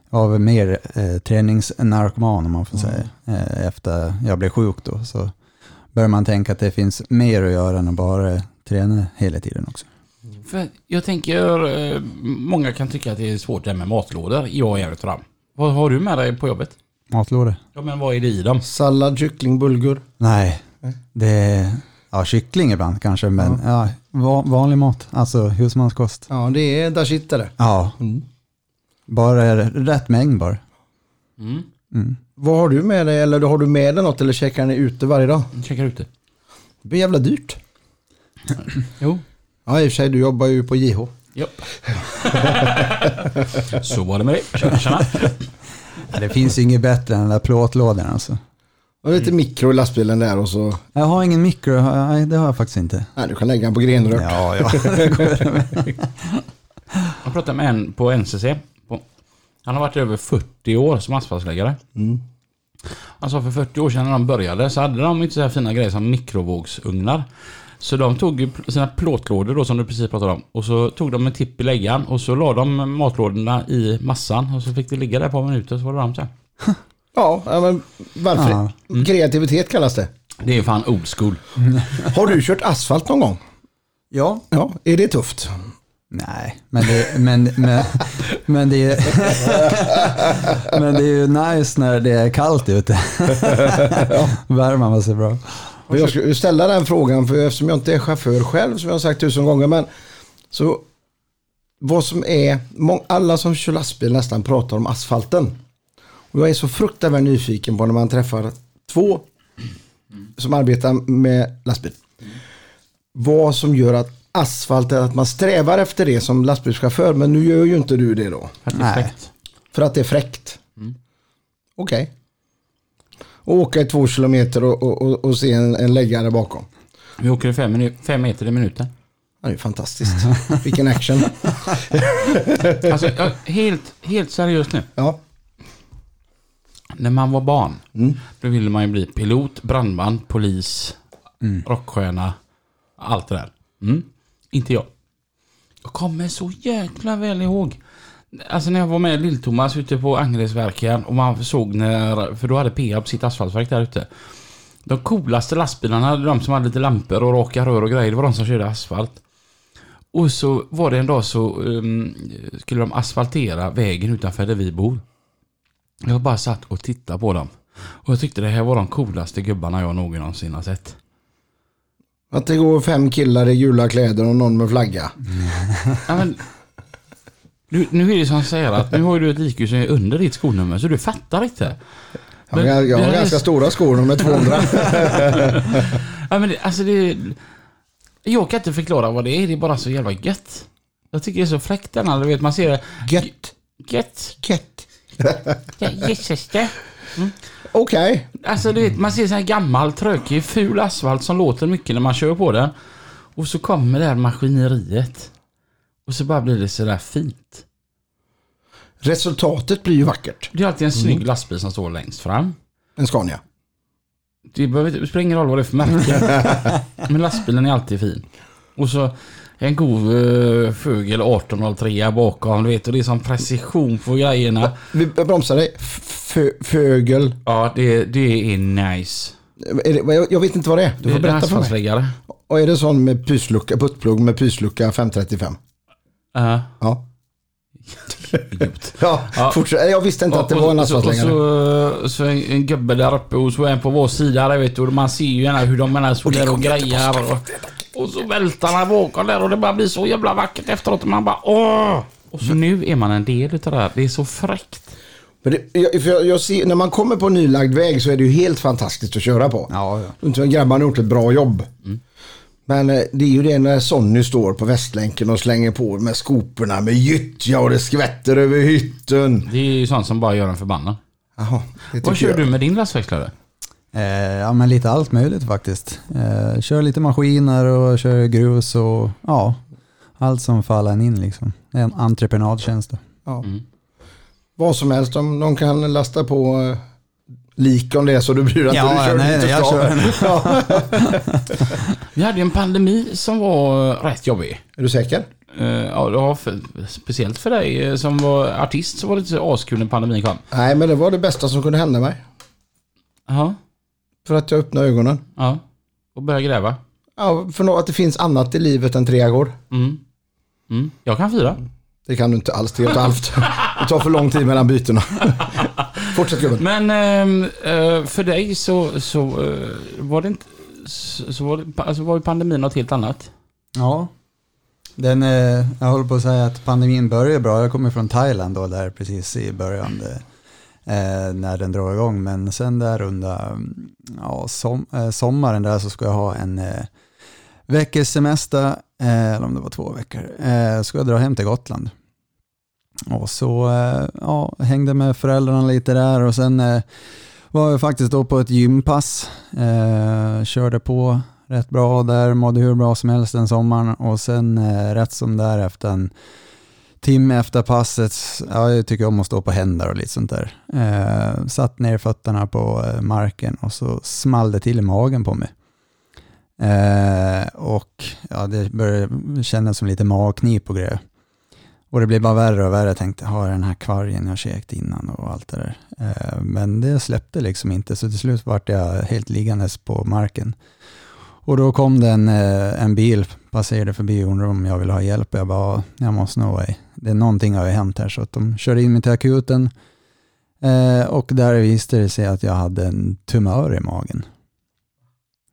[SPEAKER 3] Jag var väl mer eh, träningsnarkoman om man får säga. Eh, Efter jag blev sjuk då så börjar man tänka att det finns mer att göra än att bara träna hela tiden också.
[SPEAKER 2] För jag tänker, eh, många kan tycka att det är svårt det här med matlådor. Jag är utav dem. Vad har du med dig på jobbet?
[SPEAKER 3] Matlåda?
[SPEAKER 2] Ja men vad är det i dem?
[SPEAKER 1] Sallad, kyckling, bulgur.
[SPEAKER 3] Nej, det är ja, kyckling ibland kanske, men ja. va- vanlig mat, alltså husmanskost. Mm.
[SPEAKER 1] Ja det är, där sitter det.
[SPEAKER 3] Ja, bara rätt mängd bara.
[SPEAKER 1] Vad har du med dig eller har du med dig något eller käkar ni ute varje dag?
[SPEAKER 2] Checkar ute.
[SPEAKER 1] Det blir jävla dyrt.
[SPEAKER 2] Jo.
[SPEAKER 1] Ja i och för sig, du jobbar ju på JH.
[SPEAKER 2] Japp. så var det med det. Tjena, tjena.
[SPEAKER 3] Ja, det finns ju inget bättre än den där plåtlådan alltså.
[SPEAKER 1] Och lite mikro i lastbilen där och så,
[SPEAKER 3] Jag har ingen mikro, nej det har jag faktiskt inte.
[SPEAKER 1] nej du kan lägga den på grenrök.
[SPEAKER 3] Ja, ja.
[SPEAKER 2] Jag pratade med en på NCC. På, han har varit över 40 år som asfaltsläggare. Han sa för 40 år sedan när de började så hade de inte så här fina grejer som mikrovågsugnar. Så de tog ju pl- sina plåtlådor då som du precis pratade om och så tog de en tipp i läggan och så la de matlådorna i massan och så fick det ligga där ett par minuter så var det varmt sen.
[SPEAKER 1] Ja, ja, men varför?
[SPEAKER 3] Ja. Mm.
[SPEAKER 1] Kreativitet kallas det.
[SPEAKER 2] Det är fan old school.
[SPEAKER 1] Har du kört asfalt någon gång?
[SPEAKER 3] ja.
[SPEAKER 1] Ja, är det tufft?
[SPEAKER 3] Nej, men det, men, men, men, det, är- men det är ju nice när det är kallt ute. Värmen var så bra.
[SPEAKER 1] Men jag skulle ställa den frågan, för eftersom jag inte är chaufför själv, som jag har sagt tusen gånger, men så vad som är, må- alla som kör lastbil nästan pratar om asfalten. Och jag är så fruktansvärt nyfiken på när man träffar två som arbetar med lastbil. Vad som gör att asfalt är att man strävar efter det som lastbilschaufför, men nu gör ju inte du det då.
[SPEAKER 3] Nej.
[SPEAKER 1] För att det är fräckt. Okej. Och åka i två kilometer och, och, och, och se en, en läggare bakom.
[SPEAKER 2] Vi åker i fem, minu- fem meter i minuten.
[SPEAKER 1] Ja, det är fantastiskt. Vilken action.
[SPEAKER 2] Alltså, jag, helt, helt seriöst nu.
[SPEAKER 1] Ja.
[SPEAKER 2] När man var barn, då ville man ju bli pilot, brandman, polis, rockstjärna, allt det där. Mm. Inte jag. Jag kommer så jäkla väl ihåg. Alltså när jag var med Lill-Thomas ute på Angeredsverken och man såg när, för då hade Peab sitt asfaltverk där ute. De coolaste lastbilarna, de som hade lite lampor och raka rör och grejer, det var de som körde asfalt. Och så var det en dag så ehm, skulle de asfaltera vägen utanför där vi bor. Jag bara satt och tittade på dem. Och jag tyckte det här var de coolaste gubbarna jag någonsin har sett.
[SPEAKER 1] Att det går fem killar i gula kläder och någon med flagga.
[SPEAKER 2] Ja, men, nu, nu är det som säger att nu har ju du ett IQ som är under ditt skolnummer så du fattar inte.
[SPEAKER 1] Jag har, jag har
[SPEAKER 2] det här är-
[SPEAKER 1] ganska stora skor, de är 200.
[SPEAKER 2] Ja, men det, alltså det, jag kan inte förklara vad det är, det är bara så jävla gött. Jag tycker det är så fräckt denna, du vet man ser det.
[SPEAKER 1] Gött.
[SPEAKER 2] Gött.
[SPEAKER 1] Gött.
[SPEAKER 2] Ja, Jesus det.
[SPEAKER 1] Okej.
[SPEAKER 2] Alltså du vet, man ser sån här gammal trökig ful asfalt som låter mycket när man kör på den. Och så kommer det här maskineriet. Och så bara blir det sådär fint.
[SPEAKER 1] Resultatet blir ju vackert.
[SPEAKER 2] Det är alltid en snygg
[SPEAKER 1] Mm.
[SPEAKER 2] lastbil som står längst fram.
[SPEAKER 1] En Scania.
[SPEAKER 2] Det, behöver, inte- det spelar ingen roll vad det är för märke. Men lastbilen är alltid fin. Och så en god uh, Fögel 1803 bakom, du vet. Och det är som precision på grejerna.
[SPEAKER 1] Vi jag bromsar dig. F- fö- Fögel.
[SPEAKER 2] Ja, det, det är nice.
[SPEAKER 1] Är det, jag- jag vet inte vad det är. Du får
[SPEAKER 2] Det är
[SPEAKER 1] berätta för mig.
[SPEAKER 2] asfaltsläggare.
[SPEAKER 1] Och är det sån med pyslucka, puttplugg med pyslucka 535?
[SPEAKER 2] Ja.
[SPEAKER 1] Ja. ja, fortsätt. Jag visste inte att det var en
[SPEAKER 2] Och
[SPEAKER 1] asfaltläggare.
[SPEAKER 2] så, och så en, en gubbe där uppe och så en på vår sida där vet du. Och man ser ju gärna hur de menar så där och grejar. Och, och så välter han bakom där och det bara blir så jävla vackert efteråt. Och man bara åh! Och så nu är man en del utav det här. Det är så fräckt.
[SPEAKER 1] Men det, jag, för jag, jag ser, när man kommer på en nylagd väg så är det ju helt fantastiskt att köra på.
[SPEAKER 3] Ja, Mm. ja.
[SPEAKER 1] Inte som grabbarna har gjort ett bra jobb. Men eh, det är ju det när Sonny står på Västlänken och slänger på med skoporna med gyttja och det skvätter över hytten.
[SPEAKER 2] Det är ju sånt som bara gör en förbannad.
[SPEAKER 1] Jaha, det
[SPEAKER 2] Vad
[SPEAKER 1] tycker
[SPEAKER 2] kör
[SPEAKER 1] jag.
[SPEAKER 2] du med din lastväxlare?
[SPEAKER 3] Eh, ja, men lite allt möjligt faktiskt. Eh, kör lite maskiner och kör grus och ja, allt som faller en in liksom. Det är en entreprenadtjänst. Då.
[SPEAKER 1] Ja. Vad som helst, om någon kan lasta på eh, lik om det är så du bryr dig
[SPEAKER 3] Ja,
[SPEAKER 1] inte. Du kör
[SPEAKER 3] nej,
[SPEAKER 1] dit och
[SPEAKER 3] nej, jag
[SPEAKER 1] ska.
[SPEAKER 3] kör den.
[SPEAKER 1] Ja.
[SPEAKER 2] Vi hade ju en pandemi som var eh, rätt jobbig.
[SPEAKER 1] Är du säker?
[SPEAKER 2] Eh, Ja, det var för, speciellt för dig eh, som var artist så var det inte så askul när pandemin kom.
[SPEAKER 1] Nej, men det var det bästa som kunde hända mig.
[SPEAKER 2] Ja,
[SPEAKER 1] För att jag öppnade ögonen.
[SPEAKER 2] ja. Och började gräva.
[SPEAKER 1] Ja, för nå- att det finns annat i livet än trädgård.
[SPEAKER 2] Mm. Mm. Jag kan fyra.
[SPEAKER 1] Det kan du inte alls, det är ett halvt. Det tar för lång tid mellan bytena. Fortsätt gubben.
[SPEAKER 2] Men ehm, eh, för dig så, så eh, var det inte... Så så var, det, alltså var ju pandemin något helt annat.
[SPEAKER 3] Ja. Den, eh, jag håller på att säga att pandemin börjar bra. Jag kommer från Thailand då, där precis i början eh, när den drar igång. Men sen där under mm, ja, som, eh, sommaren där så ska jag ha en eh, veckors semester, eh, eller om det var två veckor, eh, ska jag dra hem till Gotland. Och så eh, ja, hängde med föräldrarna lite där och sen eh, var jag faktiskt då på ett gympass. Eh, körde på rätt bra där, mådde hur bra som helst den sommaren och sen eh, rätt som där efter en timme efter passet, ja, jag tycker om att stå på händer och lite sånt där. Eh, satt ner fötterna på eh, marken och så small det till i magen på mig. Eh, och ja, det började kännas som lite magknip och grejer. Och det blev bara värre och värre. Jag tänkte, har jag den här kvargen jag käkt innan och allt det där. Eh, Men det släppte liksom inte, så till slut vart jag helt liggandes på marken. Och då kom det en, eh, en bil passerade förbi och undrade om jag ville ha hjälp. Jag bara, "Ja, jag måste nog, eh, det är någonting har ju hänt här. Så att de körde in mig till akuten eh, och där visade det sig att jag hade en tumör i magen.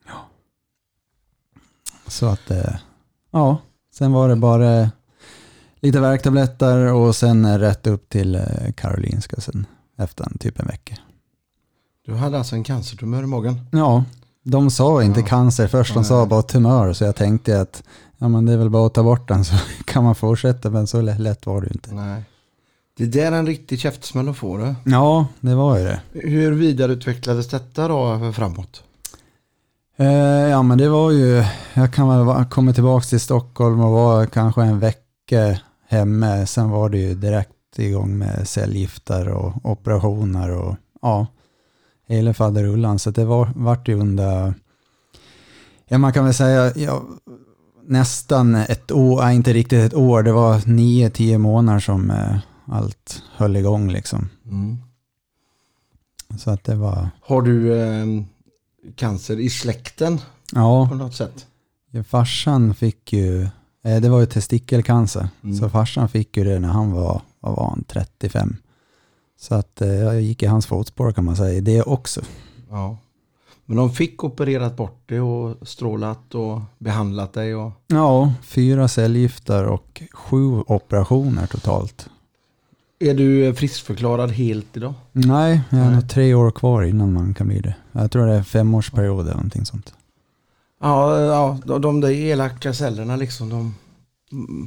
[SPEAKER 3] Ja. Så att, eh, ja, sen var det bara lite värktabletter och sen eh, rätt upp till eh, Karolinska sen efter en, typ en vecka.
[SPEAKER 1] Du hade alltså en cancertumör i magen.
[SPEAKER 3] Ja, de sa inte
[SPEAKER 1] Ja.
[SPEAKER 3] cancer först, de sa
[SPEAKER 1] Nej.
[SPEAKER 3] bara tumör. Så jag tänkte att ja, men det är väl bara att ta bort den så kan man fortsätta. Men så lä- lätt var det ju inte.
[SPEAKER 1] Nej. Det där är en riktig käftsmäll att få det.
[SPEAKER 3] Ja, det var ju det.
[SPEAKER 1] Hur vidareutvecklades detta då framåt?
[SPEAKER 3] Eh, ja, men det var ju, jag kan väl va- komma tillbaka till Stockholm och var kanske en vecka hemme. Sen var det ju direkt igång med cellgifter och operationer och ja, hela faderullan. Så det var, vart ju under, ja man kan väl säga, ja, nästan ett år, nej, inte riktigt ett år, det var nio, tio månader som eh, allt höll igång liksom.
[SPEAKER 1] Mm.
[SPEAKER 3] Så att det var,
[SPEAKER 1] Har du eh, cancer i släkten
[SPEAKER 3] ja.
[SPEAKER 1] på något sätt?
[SPEAKER 3] Ja, farsan fick ju, eh, det var ju testikelcancer,
[SPEAKER 1] Mm.
[SPEAKER 3] så farsan fick ju det när han var, vad var han, 35. Så att eh, jag gick i hans fotspår kan man säga, i det också.
[SPEAKER 1] Ja. Men de fick opererat bort det och strålat och behandlat dig och
[SPEAKER 3] Ja, fyra cellgifter och sju operationer totalt.
[SPEAKER 1] Är du eh, friskförklarad helt idag?
[SPEAKER 3] Nej, jag har
[SPEAKER 1] Nej.
[SPEAKER 3] nog tre år kvar innan man kan bli det. Jag tror det är en femårsperiod eller någonting sånt.
[SPEAKER 1] Ja, ja de, de där elaka cellerna liksom. De,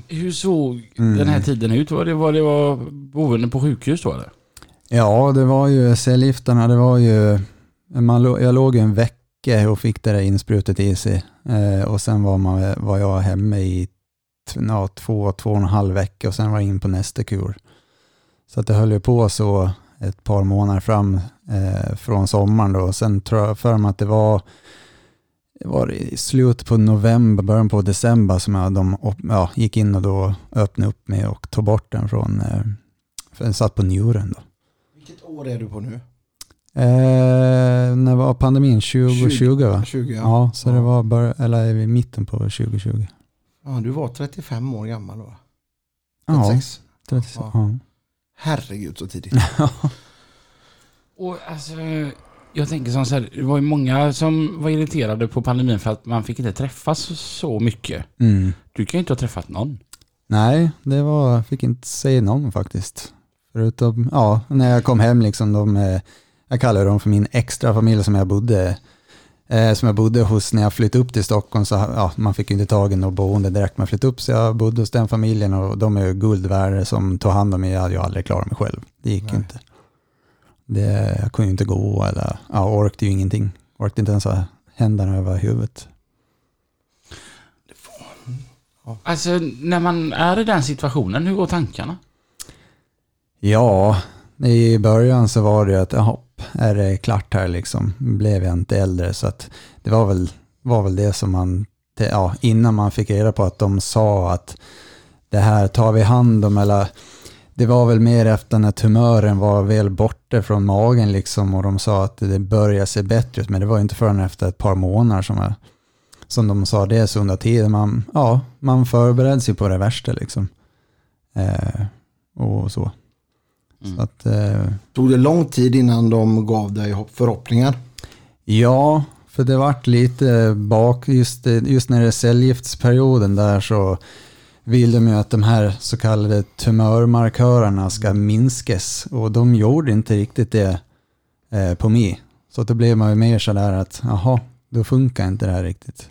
[SPEAKER 2] Hur såg
[SPEAKER 3] Mm.
[SPEAKER 2] den här tiden ut? Var det, var det var boende på sjukhus då eller?
[SPEAKER 3] Ja, det var ju cellgifterna, det var ju, man, lå- jag låg ju en vecka och fick det där insprutet i sig eh, och sen var, man, var jag hemma i t- ja, två, två och en halv vecka och sen var jag in på nästa kur. Så att det höll ju på så ett par månader fram eh, från sommaren då. Sen tror jag för mig att det var, det var i slutet på november, början på december som jag, de op- ja, gick in och då öppnade upp mig och tog bort den från, eh, för den satt på njuren då.
[SPEAKER 1] vilket år är du på nu?
[SPEAKER 3] Eh, när var pandemin? 2020 va?
[SPEAKER 1] 20 ja.
[SPEAKER 3] Ja, så det var bör- eller i mitten på 2020.
[SPEAKER 1] ja. Du var 35 år gammal då?
[SPEAKER 3] Ja,
[SPEAKER 1] 36?
[SPEAKER 3] 36.
[SPEAKER 1] Ja.
[SPEAKER 3] Ja.
[SPEAKER 1] Herregud så tidigt.
[SPEAKER 2] Och alltså, jag tänker som så här, det var ju många som var irriterade på pandemin för att man fick inte träffas så mycket.
[SPEAKER 3] Mm.
[SPEAKER 2] Du kan ju inte ha träffat någon.
[SPEAKER 3] Nej, det var, jag fick inte se någon faktiskt. Förutom, ja, när jag kom hem liksom, de, eh, jag kallar dem för min extra familj som jag bodde, eh, som jag bodde hos när jag flyttade upp till Stockholm, så ja, man fick ju inte tag i något boende direkt när man flyttade upp, så jag bodde hos den familjen och de är ju guld värda som tog hand om mig, jag hade ju aldrig klarat mig själv. Det gick ju
[SPEAKER 1] Nej.
[SPEAKER 3] inte. Det, jag kunde ju inte gå eller, ja, orkade ju ingenting. Orkade inte ens ha händerna över huvudet.
[SPEAKER 2] Alltså när man är i den situationen, hur går tankarna?
[SPEAKER 3] Ja, i början så var det ju att hopp, är det klart här liksom? Blev jag inte äldre? Så att det var väl, var väl det som man, det- ja, innan man fick reda på att de sa att det här tar vi hand om eller det var väl mer efter när tumören var väl borta från magen liksom och de sa att det börjar se bättre ut men det var ju inte förrän efter ett par månader som, jag, som de sa det så under tiden man, ja, man förbereds ju på det värsta liksom. Eh, och så. Så att, eh,
[SPEAKER 1] Tog det lång tid innan de gav dig hopp- förhoppningar?
[SPEAKER 3] ja, för det vart lite bak, just, det- just när det är cellgiftsperioden där så vill de ju att de här så kallade tumörmarkörerna ska minskas och de gjorde inte riktigt det eh, på mig. Så att då blev man ju mer sådär att jaha, då funkar inte det här riktigt.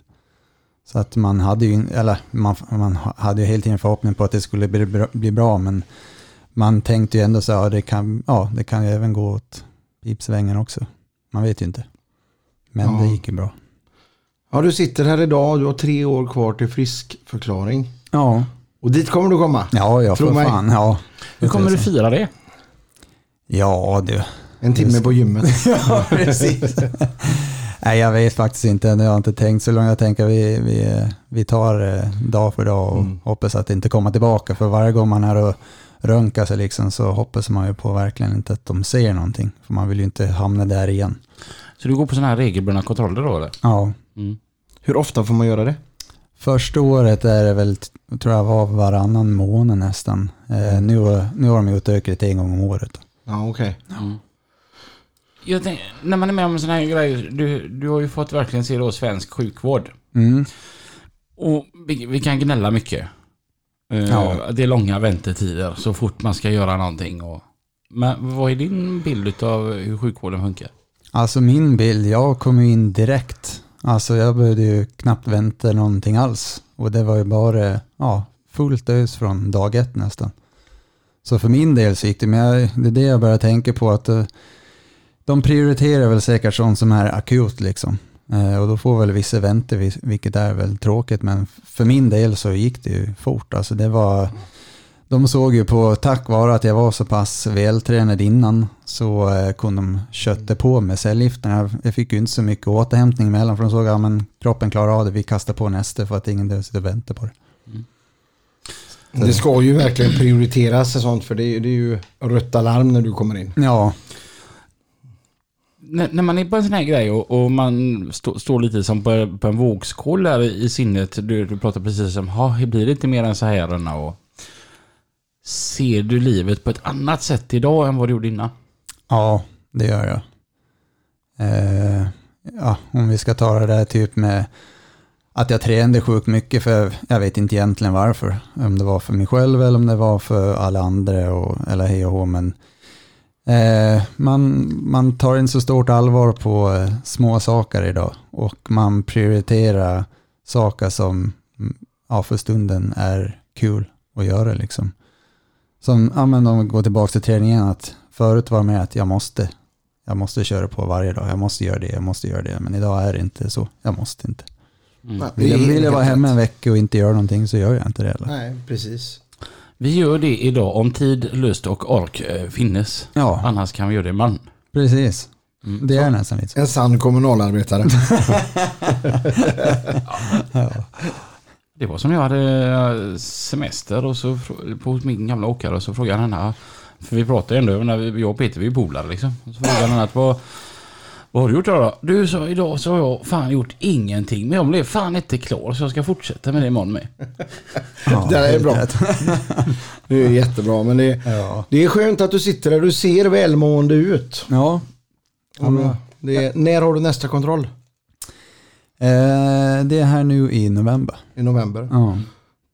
[SPEAKER 3] Så att man hade ju, in- eller man, man hade ju hela tiden förhoppning på att det skulle bli bra, bli bra men man tänkte ju ändå så här, ja, det kan, ja, det kan ju även gå åt pipsvängen också. Man vet ju inte. Men
[SPEAKER 1] Ja.
[SPEAKER 3] det gick ju bra.
[SPEAKER 1] Ja, du sitter här idag och du har tre år kvar till friskförklaring.
[SPEAKER 3] Ja,
[SPEAKER 1] Och dit kommer du komma.
[SPEAKER 3] ja, ja
[SPEAKER 1] Tro
[SPEAKER 3] för
[SPEAKER 1] mig.
[SPEAKER 3] fan. Ja.
[SPEAKER 2] Hur kommer du fira det?
[SPEAKER 3] Ja, du.
[SPEAKER 1] En timme på gymmet.
[SPEAKER 3] Ja, precis. Nej, jag vet faktiskt inte. än. Jag har inte tänkt så långt. Jag tänker vi, vi, vi tar eh, dag för dag och hoppas att det inte kommer tillbaka. För varje gång man är och röntgar sig liksom så hoppas man ju på verkligen inte att de ser någonting. För man vill ju inte hamna där igen.
[SPEAKER 2] Så du går på sådana här regelbundna kontroller då eller?
[SPEAKER 3] Ja,
[SPEAKER 2] Mm.
[SPEAKER 1] Hur ofta får man göra det?
[SPEAKER 3] Första året är det väl, tror jag var varannan månad nästan. Eh, nu, nu har de utökat det en gång om året.
[SPEAKER 1] Ja, okej.
[SPEAKER 2] Jag tänk, när man är med om sådana här grejer, du, du har ju fått verkligen se då svensk sjukvård.
[SPEAKER 3] Mm.
[SPEAKER 2] Och vi, vi kan gnälla mycket. Eh,
[SPEAKER 3] Ja.
[SPEAKER 2] Det är långa väntetider så fort man ska göra någonting. Och, men vad är din bild av hur sjukvården funkar?
[SPEAKER 3] Alltså min bild, jag kom ju in direkt. Alltså jag behövde ju knappt vänta någonting alls. Och det var ju bara ja, fullt ös från dag ett nästan. Så för min del så gick det, men jag, det är det jag börjar tänka på att eh, de prioriterar väl säkert sånt som är akut liksom. Eh, Och då får väl vissa vänta, vil- vilket är väl tråkigt. Men för min del så gick det ju fort. Alltså det var... De såg ju på, tack vare att jag var så pass vältränad innan, så eh, kunde de kötta på med cellgifterna. Jag- Jag fick ju inte så mycket återhämtning emellan, för de såg att ja, men kroppen klarar av det, vi kastar på nästa för att ingen dör sitter och väntar på det.
[SPEAKER 1] Det ska ju verkligen prioriteras och sånt för det är, det är ju rött alarm när du kommer in.
[SPEAKER 3] Ja,
[SPEAKER 2] När, när man är på en sån här grej och, och man stå, står lite som på, på en vågskål där i sinnet. Du, du pratar precis som, "Ha, hur blir det inte mer än så här? Anna?" Och, ser du livet på ett annat sätt idag än vad du gjorde innan?
[SPEAKER 3] ja det gör jag. Eh, ja, om vi ska ta det där typ med att jag tränade sjukt mycket, för jag vet inte egentligen varför. Om det var för mig själv eller om det var för alla andra, och, eller hej och hå, men Eh, man, man tar inte så stort allvar på eh, små saker idag och man prioriterar saker som mm, ja, för stunden är kul att göra. Liksom. Som, ja, men om vi går tillbaka till träningen, att förut var det med att jag måste, jag måste köra på varje dag, jag måste göra det, jag måste göra det, men idag är det inte så, jag måste inte.
[SPEAKER 1] Nej,
[SPEAKER 3] Mm. Vill jag,
[SPEAKER 1] det är
[SPEAKER 3] vill jag vara
[SPEAKER 1] helt
[SPEAKER 3] hemma
[SPEAKER 1] rätt.
[SPEAKER 3] en vecka och inte göra någonting så gör jag inte det heller.
[SPEAKER 1] Nej, precis.
[SPEAKER 2] Vi gör det idag om tid, lust och ork eh, finnes.
[SPEAKER 3] Ja,
[SPEAKER 2] Annars kan vi göra det imorgon.
[SPEAKER 3] precis.
[SPEAKER 1] Mm.
[SPEAKER 3] Det är nästan lite så.
[SPEAKER 1] En sann kommunalarbetare.
[SPEAKER 2] Det var som jag hade eh, semester och så frå- på hos min gamla åkare och så frågade han här, för vi pratade ju ändå när vi, jag och Peter vi är polare liksom. Så frågade han att vad, vad har du gjort idag då? Du sa idag så har jag fan gjort ingenting men jag blev fan inte klar så jag ska fortsätta med det imorgon med.
[SPEAKER 3] Ja,
[SPEAKER 1] det är
[SPEAKER 3] helt
[SPEAKER 1] bra.
[SPEAKER 3] rätt.
[SPEAKER 1] Det är jättebra men det,
[SPEAKER 3] Ja.
[SPEAKER 1] det är skönt att du sitter där. Du ser välmående ut.
[SPEAKER 3] Ja, Mm.
[SPEAKER 1] Och Det är, när har du nästa kontroll?
[SPEAKER 3] Eh, det är här nu i november.
[SPEAKER 1] I november.
[SPEAKER 3] Ja,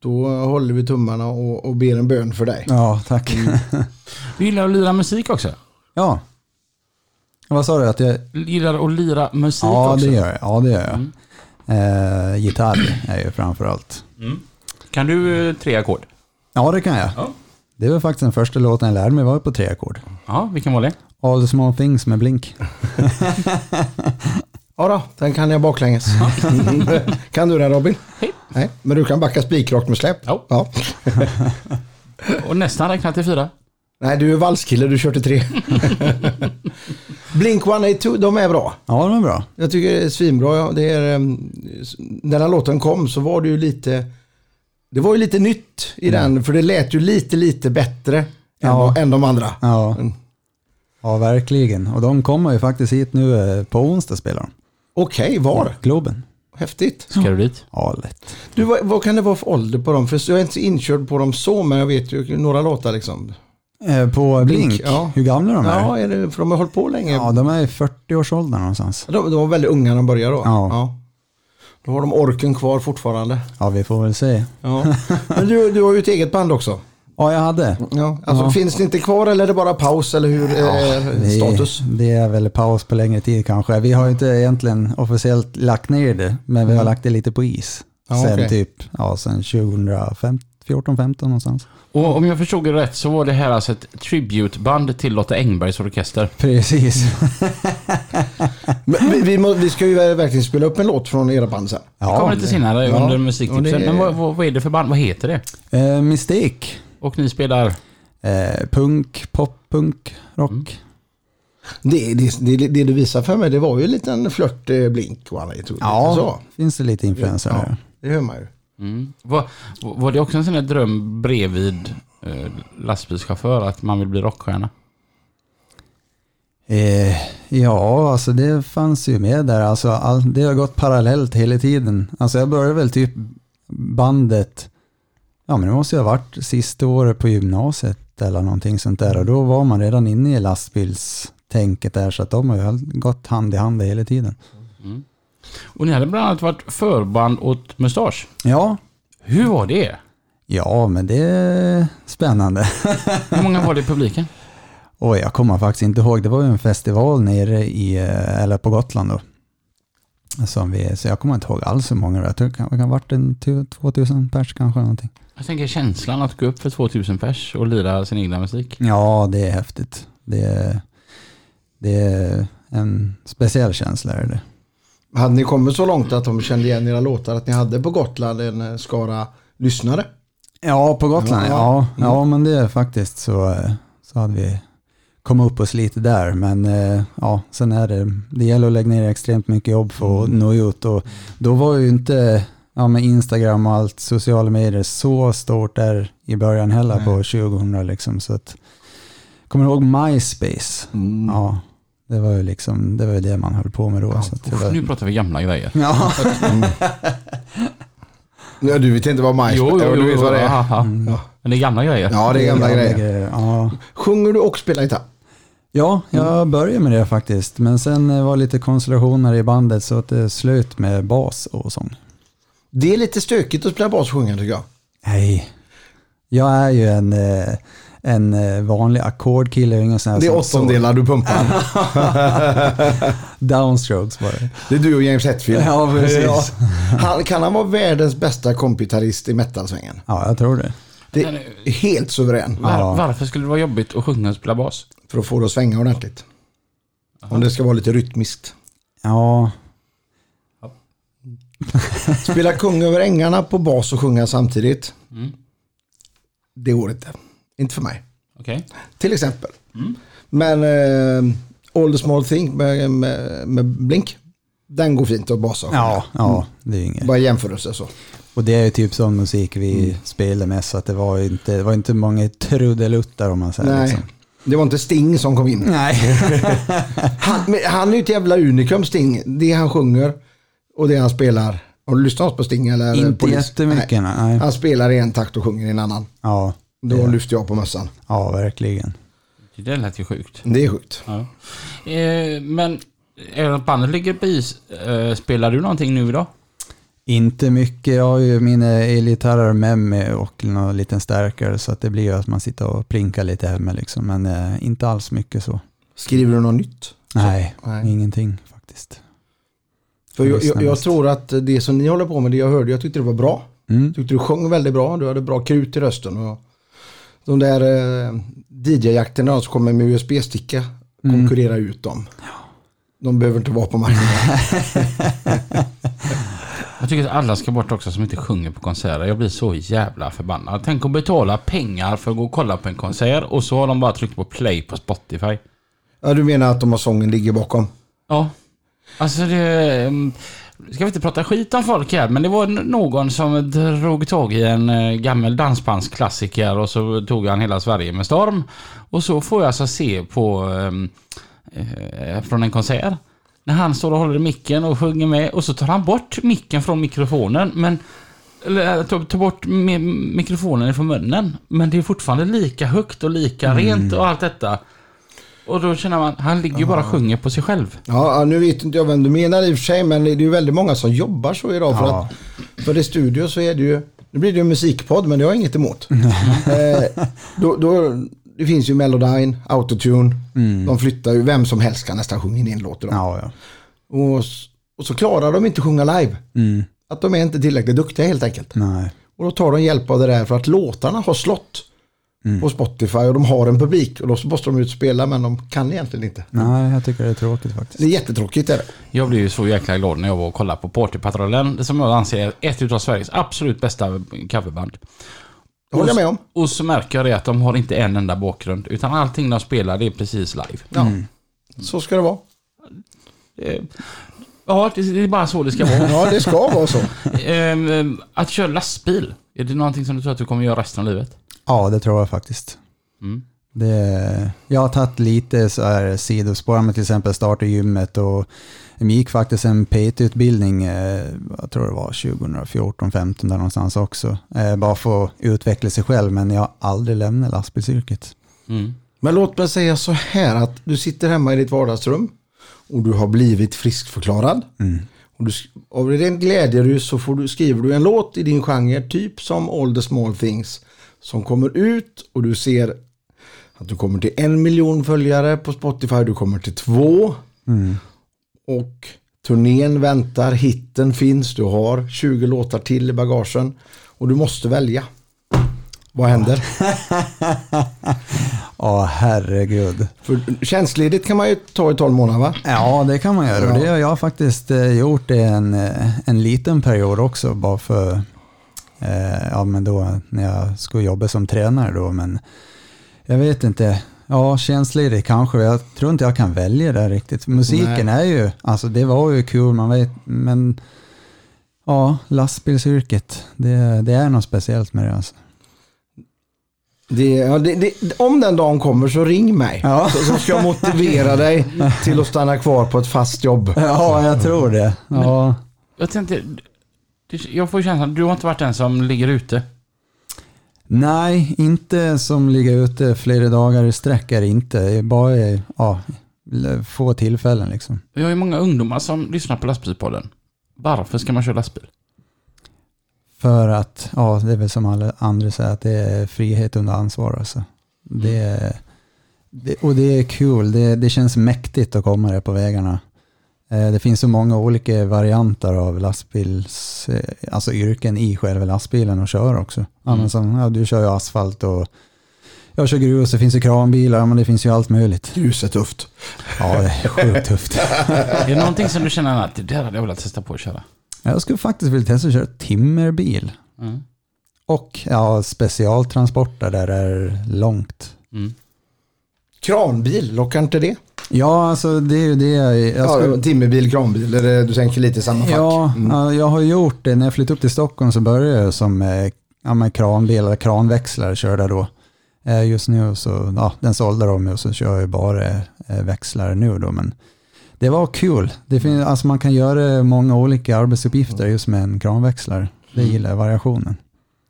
[SPEAKER 1] Då håller vi tummarna och, och ber en bön för dig.
[SPEAKER 3] ja tack.
[SPEAKER 1] Mm.
[SPEAKER 2] Du gillar att lira musik också?
[SPEAKER 3] ja. Vad sa du? Att jag...
[SPEAKER 2] Gillar att lira musik
[SPEAKER 3] Ja,
[SPEAKER 2] också?
[SPEAKER 3] det gör jag. Ja, det gör jag.
[SPEAKER 1] Mm.
[SPEAKER 3] Eh, gitarr är ju framför allt.
[SPEAKER 2] Kan du eh, tre ackord?
[SPEAKER 3] Ja, det kan jag.
[SPEAKER 2] Ja.
[SPEAKER 3] Det var faktiskt den första låten jag lärde mig var på tre ackord.
[SPEAKER 2] Ja, vilken var det?
[SPEAKER 3] All the small things med Blink.
[SPEAKER 1] Ja då, den kan jag baklänges. kan du den Robin?
[SPEAKER 2] Hej.
[SPEAKER 1] Nej, men du kan backa spikrakt med släp.
[SPEAKER 2] Ja.
[SPEAKER 1] Ja.
[SPEAKER 2] Och nästan räknat till fyra.
[SPEAKER 1] Nej, du är valskille, du kör till tre. Blink 182, de är bra.
[SPEAKER 3] Ja, det var bra.
[SPEAKER 1] Jag tycker det är svinbra. Ja, Det är, ehm, s- när den här låten kom så var det ju lite, det var ju lite nytt i den, för det lät ju lite, lite bättre
[SPEAKER 3] Mm. Ja.
[SPEAKER 1] än, de, än de andra.
[SPEAKER 3] Ja.
[SPEAKER 1] Mm.
[SPEAKER 3] ja, verkligen. Och de kommer ju faktiskt hit nu eh, på onsdag spelar de.
[SPEAKER 1] Okej, var?
[SPEAKER 3] Globen.
[SPEAKER 1] Häftigt.
[SPEAKER 2] Ska du dit?
[SPEAKER 3] Ja, lätt.
[SPEAKER 1] Du, vad, vad kan det vara för ålder på dem? För jag är inte så inkörd på dem så, men jag vet ju några låtar liksom.
[SPEAKER 3] Eh, på Blink,
[SPEAKER 1] Blink, ja.
[SPEAKER 3] hur gamla de är?
[SPEAKER 1] Ja, är det, för de har hållit på länge.
[SPEAKER 3] Ja, de är i 40-årsåldern någonstans.
[SPEAKER 1] De, de var väldigt unga när de började då.
[SPEAKER 3] Ja.
[SPEAKER 1] Då har de orken kvar fortfarande.
[SPEAKER 3] Ja, vi får väl se.
[SPEAKER 1] Ja. Men du, du har ju ett eget band också.
[SPEAKER 3] Ja, jag hade.
[SPEAKER 1] Ja. Alltså, Finns det inte kvar eller är det bara paus eller hur är
[SPEAKER 3] Det-
[SPEAKER 1] Eh, status?
[SPEAKER 3] Det är väl paus på längre tid kanske. Vi har ju inte egentligen officiellt lagt ner det, men vi har lagt det lite på is.
[SPEAKER 1] Mm. Ja,
[SPEAKER 3] sen
[SPEAKER 1] okej.
[SPEAKER 3] typ, ja sen 2014, 15 någonstans.
[SPEAKER 2] Och om jag förstod det rätt så var det här alltså ett tributeband till Lotta Engbergs orkester.
[SPEAKER 3] Precis.
[SPEAKER 1] Men vi, vi, må, vi ska ju verkligen spela upp en låt från era band sen.
[SPEAKER 2] Det kommer
[SPEAKER 3] Ja,
[SPEAKER 2] lite senare
[SPEAKER 1] Ja,
[SPEAKER 2] under
[SPEAKER 1] och det
[SPEAKER 2] musiktipsen.
[SPEAKER 1] är-
[SPEAKER 2] Men vad, vad, vad är det för band? Vad heter det?
[SPEAKER 3] eh, Mistake.
[SPEAKER 2] Och ni spelar?
[SPEAKER 3] Eh, punk, poppunk, rock.
[SPEAKER 1] Mm. Det, det, det, det du visar för mig, det var ju en liten flört eh, blink och alla i tror jag.
[SPEAKER 3] Ja,
[SPEAKER 1] Så,
[SPEAKER 3] finns det lite influenser
[SPEAKER 1] Ja.
[SPEAKER 3] där.
[SPEAKER 1] det hör man ju.
[SPEAKER 2] Var, Mm. var det också en sån där dröm bredvid eh, lastbilschaufför att man vill bli rockstjärna?
[SPEAKER 3] Eh, ja, alltså det fanns ju med där. Alltså, all, det har gått parallellt hela tiden. Alltså jag började väl typ bandet, ja men det måste ju ha varit sista året på gymnasiet eller någonting sånt där och då var man redan inne i lastbilstänket där så att de har ju gått hand i hand hela tiden.
[SPEAKER 2] Och ni hade bland annat varit förband åt Mustasch.
[SPEAKER 3] Ja,
[SPEAKER 2] Hur var det?
[SPEAKER 3] ja men det är spännande.
[SPEAKER 2] Hur många var det i publiken?
[SPEAKER 3] Och jag kommer faktiskt inte ihåg, det var ju en festival nere i, eh, eller på Gotland då. Som vi, så jag kommer inte ihåg alls hur många det var. Jag tror det kan det kan ha varit en tu- 2000 pers kanske någonting.
[SPEAKER 2] Jag tänker känslan att gå upp för 2000 pers och lira sin egna musik.
[SPEAKER 3] Ja, det är häftigt. Det är, det är en speciell känsla. Är det.
[SPEAKER 1] Hade ni kommit så långt att de kände igen era låtar att ni hade på Gotland en eh, skara lyssnare?
[SPEAKER 3] Ja, på Gotland. Ja, ja, men det är faktiskt så, eh, så hade vi kommit upp oss lite där. Men eh, ja, sen är det, det gäller att lägga ner extremt mycket jobb för att nå ut. Och då var ju inte ja, med Instagram och allt sociala medier så stort där i början heller på 2000 liksom. Så att, kommer du ihåg MySpace? Ja, det var ju liksom, det var ju det man höll på med då. så att det var,
[SPEAKER 2] Nu pratar vi gamla grejer.
[SPEAKER 3] ja.
[SPEAKER 1] Ja, du vet inte vad MySpace
[SPEAKER 2] Jo, jo,
[SPEAKER 1] Ja,
[SPEAKER 2] jo.
[SPEAKER 1] du vet vad det är. Mm.
[SPEAKER 2] aha, aha. Men det är gamla grejer.
[SPEAKER 1] Ja, det är gamla
[SPEAKER 3] Ja,
[SPEAKER 1] grejer.
[SPEAKER 3] grejer. Ja.
[SPEAKER 1] Sjunger du och spelar gitarr?
[SPEAKER 3] Ja, jag
[SPEAKER 1] Mm.
[SPEAKER 3] började med det faktiskt. Men sen eh, var lite konstellationer i bandet så att det slöt med bas och sång.
[SPEAKER 1] Det är lite stökigt att spela bas och sjunga tycker jag.
[SPEAKER 3] Nej, jag är ju en, eh, en eh, vanlig ackordkille. jag är ingen sån här
[SPEAKER 1] Det är
[SPEAKER 3] som-
[SPEAKER 1] åttondelar du pumpar.
[SPEAKER 3] Downstrokes bara.
[SPEAKER 1] Det är du och James Hetfield.
[SPEAKER 3] Ja, precis.
[SPEAKER 1] Ja. Han, kan han vara världens bästa kompitarist i metalsvängen?
[SPEAKER 3] Ja, jag tror det.
[SPEAKER 1] Det är helt suverän
[SPEAKER 2] Var, Varför skulle det vara jobbigt att sjunga och spela bas?
[SPEAKER 1] för att få det att svänga ordentligt. Om det ska vara lite rytmiskt.
[SPEAKER 3] Ja,
[SPEAKER 1] Spela Kung över ängarna på bas och sjunga samtidigt.
[SPEAKER 3] Mm.
[SPEAKER 1] Det går inte. Inte för mig.
[SPEAKER 2] Okej.
[SPEAKER 1] Till exempel.
[SPEAKER 3] Mm.
[SPEAKER 1] Men eh, All the small thing med, med, med Blink. Den går fint att basa. och sjunga.
[SPEAKER 3] ja, ja det är ju inget.
[SPEAKER 1] Bara jämförelse så.
[SPEAKER 3] Och det är ju typ sån musik vi
[SPEAKER 1] Mm.
[SPEAKER 3] spelar mest. Så att det var ju inte, det var inte många trudeluttar om man säger.
[SPEAKER 1] Nej.
[SPEAKER 3] Liksom.
[SPEAKER 1] Det var inte Sting som kom in.
[SPEAKER 3] Nej.
[SPEAKER 1] Han, men han är ju ett jävla unikum Sting. Det han sjunger och det han spelar. Har du lyssnat på Sting eller?
[SPEAKER 3] inte
[SPEAKER 1] Police? Nej.
[SPEAKER 3] jättemycket. Nej.
[SPEAKER 1] Han spelar i en takt och sjunger i en annan.
[SPEAKER 3] Ja,
[SPEAKER 1] Då lyfter jag på mössan.
[SPEAKER 3] ja, verkligen.
[SPEAKER 2] Det där lät ju sjukt.
[SPEAKER 1] Det är sjukt.
[SPEAKER 2] Ja. Eh, men även om bandet ligger på is, eh, spelar du någonting nu idag?
[SPEAKER 3] Inte mycket. Jag har ju mina elgitarrer med mig och en liten stärkare så att det blir ju att man sitter och plinkar lite hemma liksom. Men eh, inte alls mycket så.
[SPEAKER 1] Skriver du något nytt?
[SPEAKER 3] Nej,
[SPEAKER 1] nej.
[SPEAKER 3] ingenting faktiskt.
[SPEAKER 1] För jag, jag,
[SPEAKER 3] Lyssna
[SPEAKER 1] jag
[SPEAKER 3] mest.
[SPEAKER 1] tror att det som ni håller på med, det jag hörde, jag tyckte det var bra.
[SPEAKER 3] Mm.
[SPEAKER 1] Jag tyckte du sjöng väldigt bra, du hade bra krut i rösten. Och de där eh, DJ-jakterna som kommer med USB-sticka konkurrerar ut dem. De behöver inte vara på marknaden.
[SPEAKER 2] Jag tycker att alla ska bort också som inte sjunger på konserter. Jag blir så jävla förbannad. Tänk att betala pengar för att gå och kolla på en konsert och så har de bara tryckt på play på Spotify.
[SPEAKER 1] ja, du menar att de har sången ligger bakom?
[SPEAKER 2] Ja. Alltså det... mm, Ska vi inte prata skit om folk här, men det var n- någon som drog tag i en eh, gammal dansbandsklassiker och så tog han hela Sverige med storm. Och så får jag alltså se på... ehm, eh, från en konsert. När han står och håller i micken och sjunger med och så tar han bort micken från mikrofonen men... Eller eh, tar, tar bort mi- mikrofonen från munnen. Men det är fortfarande lika högt och lika rent och allt detta. Och då känner man, han ligger ju bara och sjunger på sig själv.
[SPEAKER 1] Ja, ja, nu vet inte jag vem du menar i och för sig, men det är ju väldigt många som jobbar så idag. För,
[SPEAKER 3] Ja.
[SPEAKER 1] att, för i studio så är det ju, nu blir det ju en musikpodd, men det har jag inget emot. eh, då, då, det finns ju Melodyne, Autotune,
[SPEAKER 3] Mm.
[SPEAKER 1] de flyttar ju, vem som helst kan nästan sjunga in en låt idag.
[SPEAKER 3] Ja, ja. Mm.
[SPEAKER 1] Och, s- och så klarar de inte sjunga live. Att de är inte tillräckligt duktiga helt enkelt.
[SPEAKER 3] Nej.
[SPEAKER 1] Och då tar de hjälp av det där för att låtarna har slått
[SPEAKER 3] Mm.
[SPEAKER 1] på Spotify och de har en publik och då så måste de ut och spela men de kan egentligen inte.
[SPEAKER 3] Nej, jag tycker det är tråkigt faktiskt.
[SPEAKER 1] Det är jättetråkigt. Är det.
[SPEAKER 2] Jag blev ju så jäkla glad när jag var och kollade på Partypatrullen som jag anser är ett av Sveriges absolut bästa coverband.
[SPEAKER 1] Det håller jag med om.
[SPEAKER 2] Och så märker jag det att de har inte en enda bakgrund utan allting de spelar det är precis live.
[SPEAKER 1] Ja. Så ska det vara.
[SPEAKER 2] Eh, Ja, det det är bara så det ska vara.
[SPEAKER 1] Ja, det ska vara så.
[SPEAKER 2] Ehm, att köra lastbil, är det någonting som du tror att du kommer göra resten av livet?
[SPEAKER 3] Ja, det tror jag faktiskt. Det, jag har tagit lite så här sidospår, men till exempel starta gymmet och Vi gick faktiskt en PT-utbildning, eh, jag tror det var 2014, 15 där någonstans också. Eh, bara för att utveckla sig själv, men jag har aldrig lämnat lastbilsyrket.
[SPEAKER 2] Mm.
[SPEAKER 1] Men låt mig säga så här att du sitter hemma i ditt vardagsrum och du har blivit friskförklarad. Och du, sk- av den glädjer du så får du, skriver du en låt i din genre, typ som All the small things, som kommer ut och du ser att du kommer till en miljon följare på Spotify, du kommer till två. Och turnén väntar, hitten finns, du har 20 låtar till i bagagen och du måste välja. Vad händer?
[SPEAKER 3] Ja, herregud.
[SPEAKER 1] För tjänstledigt kan man ju ta i 12 månader va?
[SPEAKER 3] Ja, det kan man göra. Och det har jag faktiskt eh, gjort i en, eh, en liten period också, bara för eh, ja, men då, när jag skulle jobba som tränare. Då, men jag vet inte. Ja, tjänstledig kanske. Jag tror inte jag kan välja det riktigt. Musiken är ju, alltså det var ju kul, man vet, men ja, lastbilsyrket, det, det är något speciellt med det alltså.
[SPEAKER 1] Det, ja, det, det, om den dagen kommer så ring mig.
[SPEAKER 3] Ja.
[SPEAKER 1] Så, så ska jag motivera dig till att stanna kvar på ett fast jobb.
[SPEAKER 3] Ja, jag tror det. Ja.
[SPEAKER 2] Jag tänkte, det- jag får känslan, du har inte varit den som ligger ute.
[SPEAKER 3] Nej, inte som ligga ute flera dagar i sträck är det inte. Det är Bara eh, ja, få tillfällen liksom.
[SPEAKER 2] Vi har ju många ungdomar som lyssnar på lastbilspodden. Varför ska man köra lastbil?
[SPEAKER 3] För att, ja, det är väl som alla andra säger, att det är frihet under ansvar alltså. Det, är- det, och det är kul, det, det känns mäktigt att komma där på vägarna. Eh, Det finns så många olika varianter av lastbils, eh, alltså yrken i själva lastbilen och köra också. Ja, men som, ja, du kör ju asfalt och jag kör grus, det finns ju kranbilar, ja, men det finns ju allt möjligt.
[SPEAKER 1] Ljuset tufft.
[SPEAKER 3] Ja, det är sjukt tufft.
[SPEAKER 2] Är det någonting som du känner att det där hade jag velat testa på att köra?
[SPEAKER 3] Jag skulle faktiskt vilja testa att köra timmerbil.
[SPEAKER 2] Mm.
[SPEAKER 3] Och ja, specialtransporter där det är långt.
[SPEAKER 2] Mm.
[SPEAKER 1] Kranbil, lockar inte det?
[SPEAKER 3] Ja, alltså det är ju det jag... jag skulle-
[SPEAKER 1] Ja, Mm. timmerbil, kranbil, eller du tänker lite i samma fack?
[SPEAKER 3] Ja, ja, jag har gjort det. När jag flyttade upp till Stockholm så började jag som eh, ja, men kranbil eller kranväxlare körde då. Eh, Just nu så, ja, den sålde de och så kör jag bara eh, växlare nu då. Men det var kul. Det finns,
[SPEAKER 1] Mm.
[SPEAKER 3] alltså man kan göra många olika arbetsuppgifter just med en kranväxlare. Det
[SPEAKER 1] Mm.
[SPEAKER 3] gillar jag, variationen.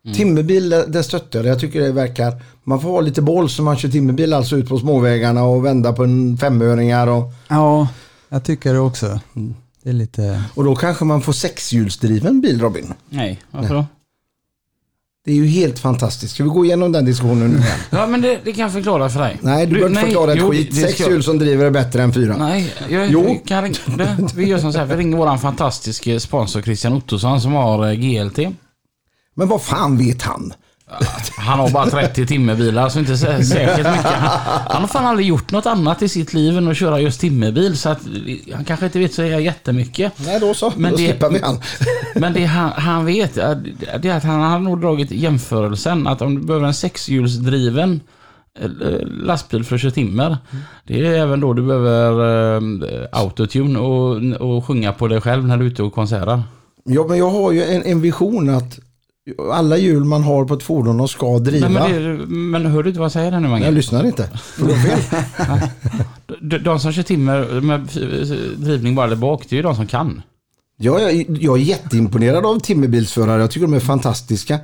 [SPEAKER 3] Mm.
[SPEAKER 1] Timmerbil, det det stöttar jag. Jag tycker det verkar... Man får ha lite boll som man kör timmerbil, alltså ut på småvägarna och vända på en femöringar och,
[SPEAKER 3] Ja, jag tycker det också. Mm. Det är lite...
[SPEAKER 1] och då kanske man får sexhjulsdriven bil, Robin.
[SPEAKER 2] Nej, varför då?
[SPEAKER 1] Det är ju helt fantastiskt. Ska vi gå igenom den diskussionen nu igen?
[SPEAKER 2] Ja, men det, det kan jag förklara för dig.
[SPEAKER 1] Nej, du behöver inte
[SPEAKER 2] nej,
[SPEAKER 1] förklara ett
[SPEAKER 2] jo,
[SPEAKER 1] skit.
[SPEAKER 2] det ska
[SPEAKER 1] Sex
[SPEAKER 2] jag-
[SPEAKER 1] hjul som driver är bättre än fyra.
[SPEAKER 2] Nej, jag,
[SPEAKER 1] Jo.
[SPEAKER 2] vi kan ringa, det- vi gör som så här, vi ringer våran fantastiska sponsor Christian Ottosson som har eh, GLT.
[SPEAKER 1] Men vad fan vet han?
[SPEAKER 2] Han har bara 30 timmerbilar, så inte sä- säkert mycket. Han, han har fan aldrig gjort något annat i sitt liv än att köra just timmerbil, så att eh, han kanske inte vet så jättemycket.
[SPEAKER 1] Nej, då så.
[SPEAKER 2] Men
[SPEAKER 1] då
[SPEAKER 2] det-
[SPEAKER 1] skippar vi han.
[SPEAKER 2] Men det han, han vet, eh, det är att han har nog dragit jämförelsen att om du behöver en sexhjulsdriven eh, lastbil för att köra timmer. Det är även då du behöver eh, autotune och, och sjunga på dig själv när du är ute och konserter.
[SPEAKER 1] Ja, men jag har ju en, en vision att alla hjul man har på ett fordon de ska driva.
[SPEAKER 2] Nej, men, det, är- men hör du inte vad jag säger här nu
[SPEAKER 1] Jag
[SPEAKER 2] Mange?
[SPEAKER 1] lyssnar inte. För då fel.
[SPEAKER 2] De, de som kör timmer med f- drivning bara där bak, det är ju de som kan.
[SPEAKER 1] jag, jag, jag är jätteimponerad av timmerbilsförare. Jag tycker de är fantastiska.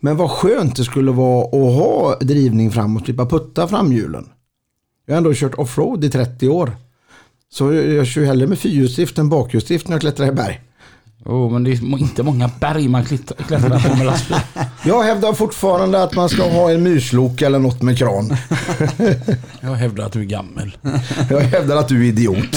[SPEAKER 1] Men vad skönt det skulle vara att ha drivning fram och slippa putta framhjulen. Jag har ändå kört offroad i 30 år. Så jag kör hellre med fyrhjulsdrift än bakhjulsdrift när jag klättrar i berg. Oh,
[SPEAKER 2] Men det är inte många berg man klitt- klättrar på med lastbil.
[SPEAKER 1] Jag hävdar fortfarande att man ska ha en myslok eller något med kran.
[SPEAKER 2] Jag hävdar att du är gammal.
[SPEAKER 1] Jag hävdar att du är idiot.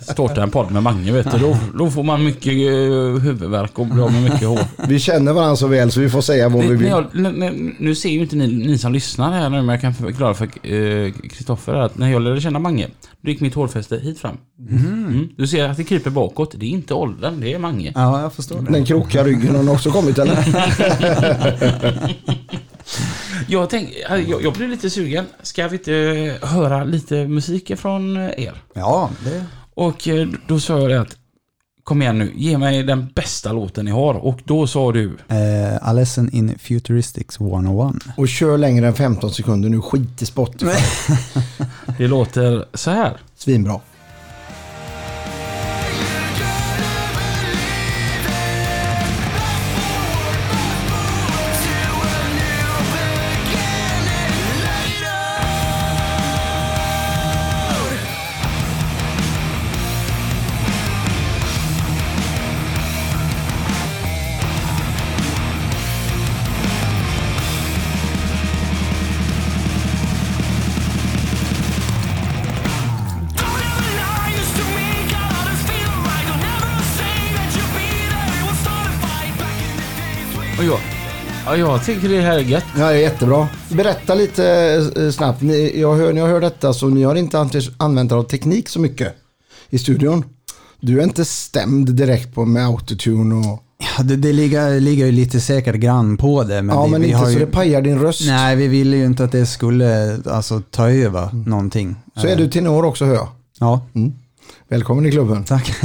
[SPEAKER 2] Starta en podd med Mange vet du, då, då får man mycket eh, huvudvärk och blir av med mycket hår.
[SPEAKER 1] Vi känner varandra så väl så vi får säga vad vi
[SPEAKER 2] Vet ni,
[SPEAKER 1] vill.
[SPEAKER 2] jag, n- n- nu ser ju inte ni, ni som lyssnar här nu, men jag kan förklara för eh, Kristoffer att när jag lärde känna Mange, då gick mitt hårfäste hit fram.
[SPEAKER 1] Mhm.
[SPEAKER 2] Mm. Du ser att det kryper bakåt. Det är inte åldern, det är Mange.
[SPEAKER 3] Ja, jag förstår det.
[SPEAKER 1] Den krokiga ryggen har den också kommit eller?
[SPEAKER 2] Jag, tänk, jag, jag blir lite sugen. Ska vi inte eh, höra lite musik från eh, er?
[SPEAKER 3] Ja, det...
[SPEAKER 2] Och eh, då sa jag det att Kom igen nu, ge mig den bästa låten ni har. Och då sa du,
[SPEAKER 3] Eh, A lesson in futuristics 101.
[SPEAKER 1] Och kör längre än 15 sekunder nu, skit i Spotify.
[SPEAKER 2] det låter så här.
[SPEAKER 1] Svinbra.
[SPEAKER 2] Och jag, ja, jag tycker det här är gött.
[SPEAKER 1] Ja, det är jättebra. Berätta lite eh, snabbt. Ni, jag hör, när jag hör detta så ni har inte antis- använt er av teknik så mycket i studion. Du är inte stämd direkt på med autotune och...
[SPEAKER 3] Ja, det, det ligger, ligger ju lite säkert grann på det. Men
[SPEAKER 1] ja,
[SPEAKER 3] vi,
[SPEAKER 1] men
[SPEAKER 3] vi
[SPEAKER 1] inte
[SPEAKER 3] har
[SPEAKER 1] så
[SPEAKER 3] ju,
[SPEAKER 1] det pajar din röst.
[SPEAKER 3] Nej, vi ville ju inte att det skulle alltså, ta över någonting.
[SPEAKER 1] Mm. Så är Mm. du tenor också hör jag.
[SPEAKER 3] Ja,
[SPEAKER 1] Välkommen i klubben.
[SPEAKER 3] tack.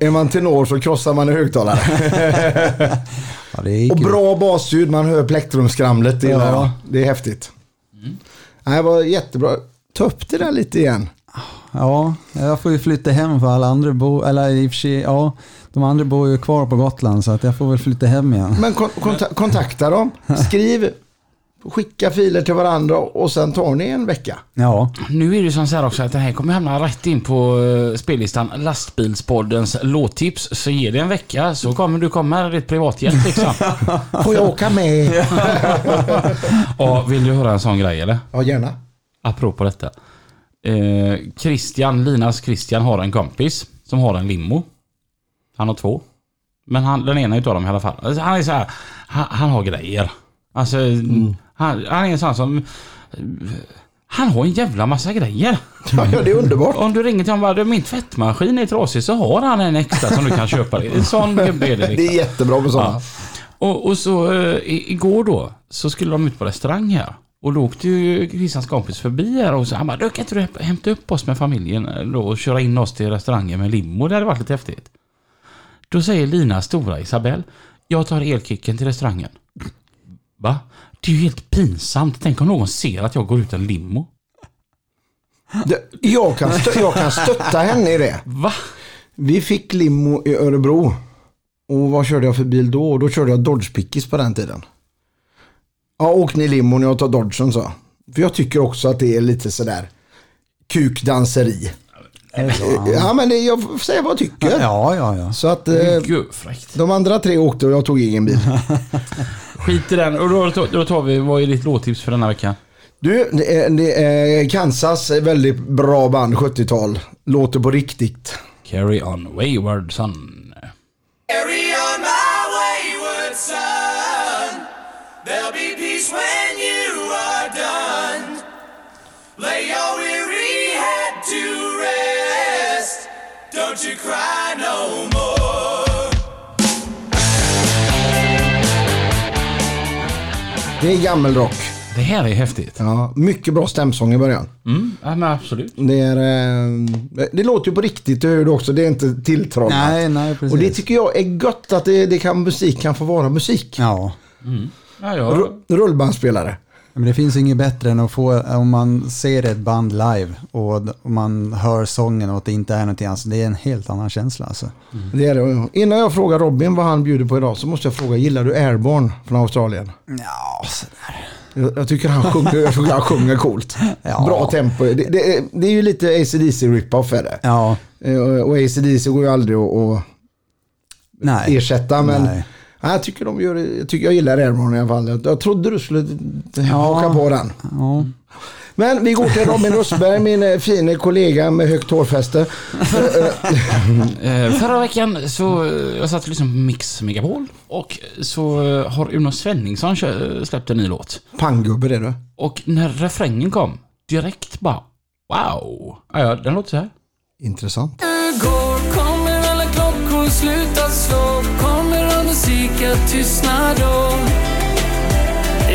[SPEAKER 1] Är man tenor så krossar man en högtalare.
[SPEAKER 3] Ja, det gick
[SPEAKER 1] Och
[SPEAKER 3] ju.
[SPEAKER 1] bra basljud, man hör plektrumskramlet. Det, gillar
[SPEAKER 3] Ja. Mm.
[SPEAKER 1] jag. det är häftigt. Nej, det var jättebra. Ta upp det där lite igen.
[SPEAKER 3] Ja, jag får ju flytta hem för alla andra bor, eller i och för sig, ja, de andra bor ju kvar på Gotland så att jag får väl flytta hem igen.
[SPEAKER 1] Men kon- konta- kontakta dem, skriv, skicka filer till varandra och sen tar ni en vecka.
[SPEAKER 3] Ja,
[SPEAKER 2] Nu är det som så här också att det här kommer hamna rätt in på eh, spellistan Lastbilspoddens låttips. Så ge det en vecka så kommer du komma här i ett privatjet liksom.
[SPEAKER 1] Får jag åka med?
[SPEAKER 2] ja, vill du höra en sån grej eller?
[SPEAKER 1] Ja, gärna.
[SPEAKER 2] Apropå detta. Eh, Christian, Linas Christian har en kompis som har en limo. Han har två. Men han, den ena utav dem i alla fall. Alltså, han är så här, han, han har grejer. Alltså, han, han är en sån som... eh, Han har en jävla massa grejer.
[SPEAKER 1] Ja, ja, det är underbart.
[SPEAKER 2] Om du ringer till honom och bara, "Du, min tvättmaskin är trasig så har han en extra som du kan köpa. dig. En sån gubbe är det
[SPEAKER 1] Det är
[SPEAKER 2] liksom.
[SPEAKER 1] jättebra med sådana.
[SPEAKER 2] Och, och så eh, i, igår då så skulle de ut på restaurang här. Och då åkte ju Christians kompis förbi här och så han bara, "Du, kan inte du häm- hämta upp oss med familjen eh, då och köra in oss till restaurangen med limo? Det hade varit lite häftigt. Då säger Lina stora Isabelle, jag tar elkicken till restaurangen. Va? Det är ju helt pinsamt. Tänk om någon ser att jag går utan limo.
[SPEAKER 1] Det- Jag, kan stö- jag kan stötta henne i det.
[SPEAKER 2] Va?
[SPEAKER 1] Vi fick limo i Örebro. Och vad körde jag för bil då? Då körde jag Dodge Pickis på den tiden. Ja, åk ni limon, jag tar Dodgen så. För jag tycker också att det är lite sådär kukdanseri.
[SPEAKER 3] är det så?
[SPEAKER 1] Ja, men det- jag säger vad jag tycker.
[SPEAKER 3] Ja, ja, ja.
[SPEAKER 1] Så att eh,
[SPEAKER 2] Gud, fräckt.
[SPEAKER 1] de andra tre åkte och jag tog egen bil.
[SPEAKER 2] Skit i den. Och då, tar- då tar vi, vad är ditt låttips för denna veckan?
[SPEAKER 1] Du, det är- det är Kansas är väldigt bra band, 70-tal. Låter på riktigt.
[SPEAKER 2] Carry on wayward son.
[SPEAKER 4] Carry on my wayward son. There'll be peace when you are done. Lay your weary head to rest. Don't you cry no more.
[SPEAKER 1] Det är gammelrock.
[SPEAKER 2] Det här är häftigt.
[SPEAKER 1] Ja, mycket bra stämsång i början.
[SPEAKER 2] Mm, ja, men absolut.
[SPEAKER 1] Det, är, eh, det låter ju på riktigt, det hör du också. Det är inte tilltrollat.
[SPEAKER 3] Nej, nej, precis.
[SPEAKER 1] Och det tycker jag är gött att det, det kan, musik kan få vara musik.
[SPEAKER 3] Ja,
[SPEAKER 2] Ja, ja.
[SPEAKER 1] Ru- Rullbandspelare.
[SPEAKER 3] men det finns inget bättre än att få, om man ser ett band live och d- och man hör sången och att det inte är någonting, alltså det är en helt annan känsla alltså.
[SPEAKER 1] Det är det. Innan jag frågar Robin vad han bjuder på idag så måste jag fråga, gillar du Airborne från Australien?
[SPEAKER 3] Ja, så-
[SPEAKER 1] Jag, jag tycker han sjunger, jag tycker han sjunger coolt.
[SPEAKER 3] Ja.
[SPEAKER 1] Bra tempo. Det, det, är- det är ju lite ACDC rip-off är det.
[SPEAKER 3] ja,
[SPEAKER 1] Eh, och- Och ACDC går ju aldrig att, att
[SPEAKER 3] nej.
[SPEAKER 1] ersätta men
[SPEAKER 3] Nej.
[SPEAKER 1] Nej, jag tycker de gör det. Jag, tycker jag gillar Airborne i alla fall. Jag, jag trodde du skulle haka på den.
[SPEAKER 3] Ja.
[SPEAKER 1] Men vi går till Robin Rosberg, min eh, fine kollega med högt hårfäste.
[SPEAKER 2] Eh, förra veckan så eh, jag satt och lyssnade på Mix Megapol och så eh, har Uno Svenningsson kö- eh, släppt en ny låt.
[SPEAKER 1] Panggubbe det du.
[SPEAKER 2] Och när refrängen kom, direkt bara wow. Ja, ja, den låter så här.
[SPEAKER 1] Intressant.
[SPEAKER 6] går kommer alla klockor sluta slå Kommer all musik att tystna då?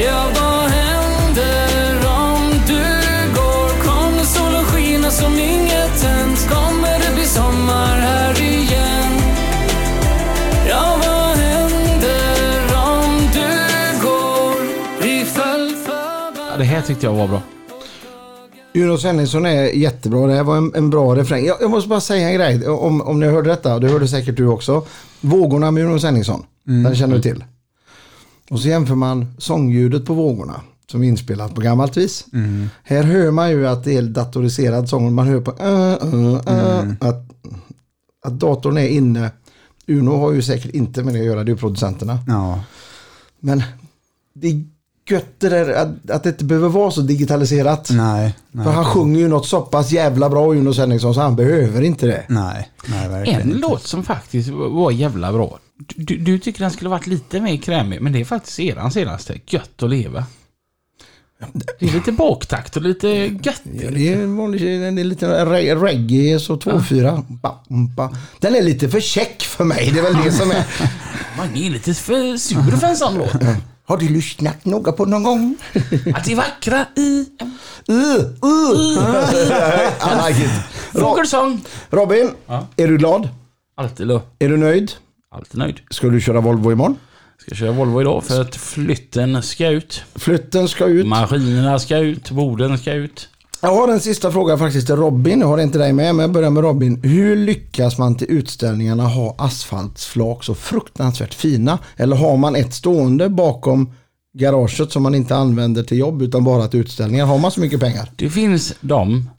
[SPEAKER 6] Ja, vad händer om du går? Kommer solen skina som inget hänt? Kommer det bli sommar här igen?
[SPEAKER 2] här tyckte jag var bra.
[SPEAKER 1] Jonas Henningsson är jättebra. Det här var en, en bra refräng. Jag, jag måste bara säga en grej. Om, om ni hörde detta, och det hörde säkert du också. Vågorna med Jonas Henningsson. Den känner du till. Och så jämför man sångljudet på vågorna. Som är inspelat på gammalt vis. Här hör man ju att det är datoriserad sång. Man hör på äh, äh, äh, att, att datorn är inne. Uno har ju säkert inte med det att göra, det är ju producenterna.
[SPEAKER 3] Ja.
[SPEAKER 1] Men det är gött det där att, att det inte behöver vara så digitaliserat.
[SPEAKER 3] Nej.
[SPEAKER 1] För
[SPEAKER 3] Nej.
[SPEAKER 1] han sjunger ju något så pass jävla bra Jonas Henningsson så han behöver inte det.
[SPEAKER 3] Nej. Nej, verkligen
[SPEAKER 2] En
[SPEAKER 3] inte.
[SPEAKER 2] låt som faktiskt var jävla bra. Du, du tycker den skulle varit lite mer krämig, men det är faktiskt eran senaste. Gött att leva. Det är lite baktakt och lite gött.
[SPEAKER 1] Ja, det är en vanlig en liten re- reggae, så 2-4. Ba, mm, ba. Den är lite för käck för mig, det är väl det som är.
[SPEAKER 2] Man är lite för sur för en sån låt.
[SPEAKER 1] Har du lyssnat noga på någon gång?
[SPEAKER 2] Att det vackra i en
[SPEAKER 1] Uh, uh. I like it. Ro-
[SPEAKER 2] fågelsång.
[SPEAKER 1] Robin, är du glad?
[SPEAKER 2] Alltid då.
[SPEAKER 1] Är du nöjd?
[SPEAKER 2] Alltid nöjd.
[SPEAKER 1] Ska du köra Volvo imorgon?
[SPEAKER 2] Ska köra Volvo idag för att flytten ska ut.
[SPEAKER 1] Flytten ska ut.
[SPEAKER 2] Maskinerna ska ut. Borden ska ut.
[SPEAKER 1] Jag har en sista fråga faktiskt till Robin. Jag har inte dig med, men jag börjar med Robin. Hur lyckas man till utställningarna ha asfaltflak så fruktansvärt fina? Eller har man ett stående bakom garaget som man inte använder till jobb utan bara till utställningar? Har man så mycket pengar?
[SPEAKER 2] Det finns de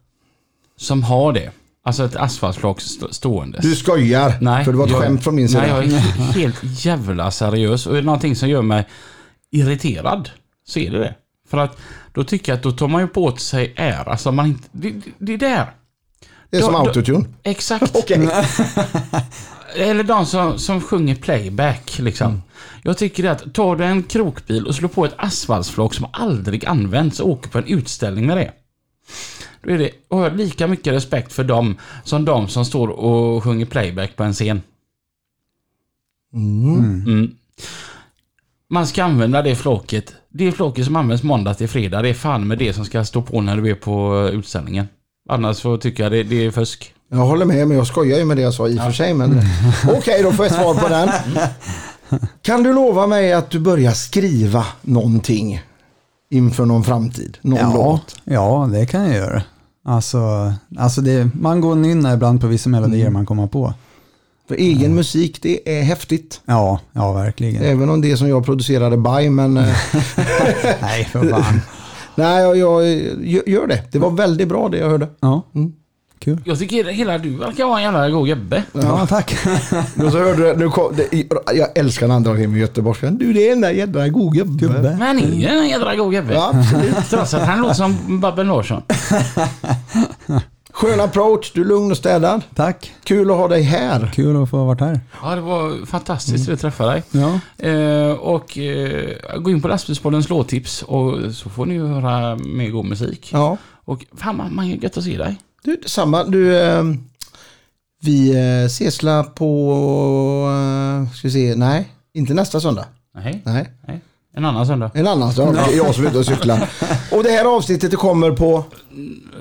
[SPEAKER 2] som har det. Alltså ett asfaltflak stå- stående.
[SPEAKER 1] Du skojar!
[SPEAKER 2] Nej,
[SPEAKER 1] för det var ett
[SPEAKER 2] jag-
[SPEAKER 1] skämt från min sida.
[SPEAKER 2] Nej, jag är he- helt jävla seriös. Och är det någonting som gör mig irriterad så är det det. För att då tycker jag att då tar man ju på åt sig ära som man inte... Det, det- det är där.
[SPEAKER 1] det är som
[SPEAKER 2] då- då-
[SPEAKER 1] autotune. Mm.
[SPEAKER 2] Exakt. Eller de som, som sjunger playback liksom. Jag tycker det att tar du en krokbil och slår på ett asfaltsflak som aldrig används och åker på en utställning med det. Då är det, har jag lika mycket respekt för dem som de som står och sjunger playback på en scen. Mm. Man ska använda det flaket. Det flaket som används måndag till fredag, det är fan med det som ska stå på när du är på utställningen. Annars så tycker jag det, det är fusk.
[SPEAKER 1] Jag håller med, men jag skojar ju med det jag sa i och för sig. Men... Okej, då får jag svar på den. Kan du lova mig att du börjar skriva någonting inför någon framtid? Någon
[SPEAKER 3] Ja,
[SPEAKER 1] låt?
[SPEAKER 3] ja, det kan jag göra. Alltså, alltså det, man går och nynnar ibland på vissa melodier man kommer på.
[SPEAKER 1] För egen musik, det är häftigt.
[SPEAKER 3] Ja, ja verkligen.
[SPEAKER 1] Även om det som jag producerade by, men eh,
[SPEAKER 3] Nej, för fan.
[SPEAKER 1] nej, jag, jag gö- gör det. Det var väldigt bra det jag hörde.
[SPEAKER 3] Ja, kul.
[SPEAKER 2] Jag tycker hela du verkar vara en jävla god gubbe.
[SPEAKER 3] Ja, tack.
[SPEAKER 1] Och så hörde du, nu kom, det, jag älskar när andra hem i Göteborg. Du, det är en där jädra god gubbe.
[SPEAKER 3] Gubbe.
[SPEAKER 2] Men han är en jädra god gubbe.
[SPEAKER 1] Ja, absolut.
[SPEAKER 2] Trots att han låter som Babben Larsson.
[SPEAKER 1] Skön approach, du är lugn och städad.
[SPEAKER 3] Tack.
[SPEAKER 1] Kul att ha dig här.
[SPEAKER 3] Kul att få ha varit här.
[SPEAKER 2] Ja, det var fantastiskt att träffa dig.
[SPEAKER 3] Ja.
[SPEAKER 2] Eh, och eh, gå in på Lastbilspoddens låttips och så får ni ju höra mer god musik.
[SPEAKER 1] Ja.
[SPEAKER 2] Och fan, man, man är gött att se dig.
[SPEAKER 1] Du, detsamma. Du, eh, vi eh, ses la på... Eh, ska vi se, nej, inte nästa söndag.
[SPEAKER 2] Nej,
[SPEAKER 1] Nej,
[SPEAKER 2] nej. En annan söndag.
[SPEAKER 1] en annan söndag. Det är jag som är ute och cyklar. Och det här avsnittet det kommer på...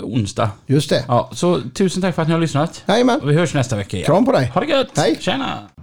[SPEAKER 2] Onsdag.
[SPEAKER 1] Just det.
[SPEAKER 2] Ja, så tusen tack för att ni har lyssnat.
[SPEAKER 1] Jajamän.
[SPEAKER 2] Och vi hörs nästa vecka igen.
[SPEAKER 1] Kram på dig.
[SPEAKER 2] Ha det gött.
[SPEAKER 1] Hej.
[SPEAKER 2] Tjena.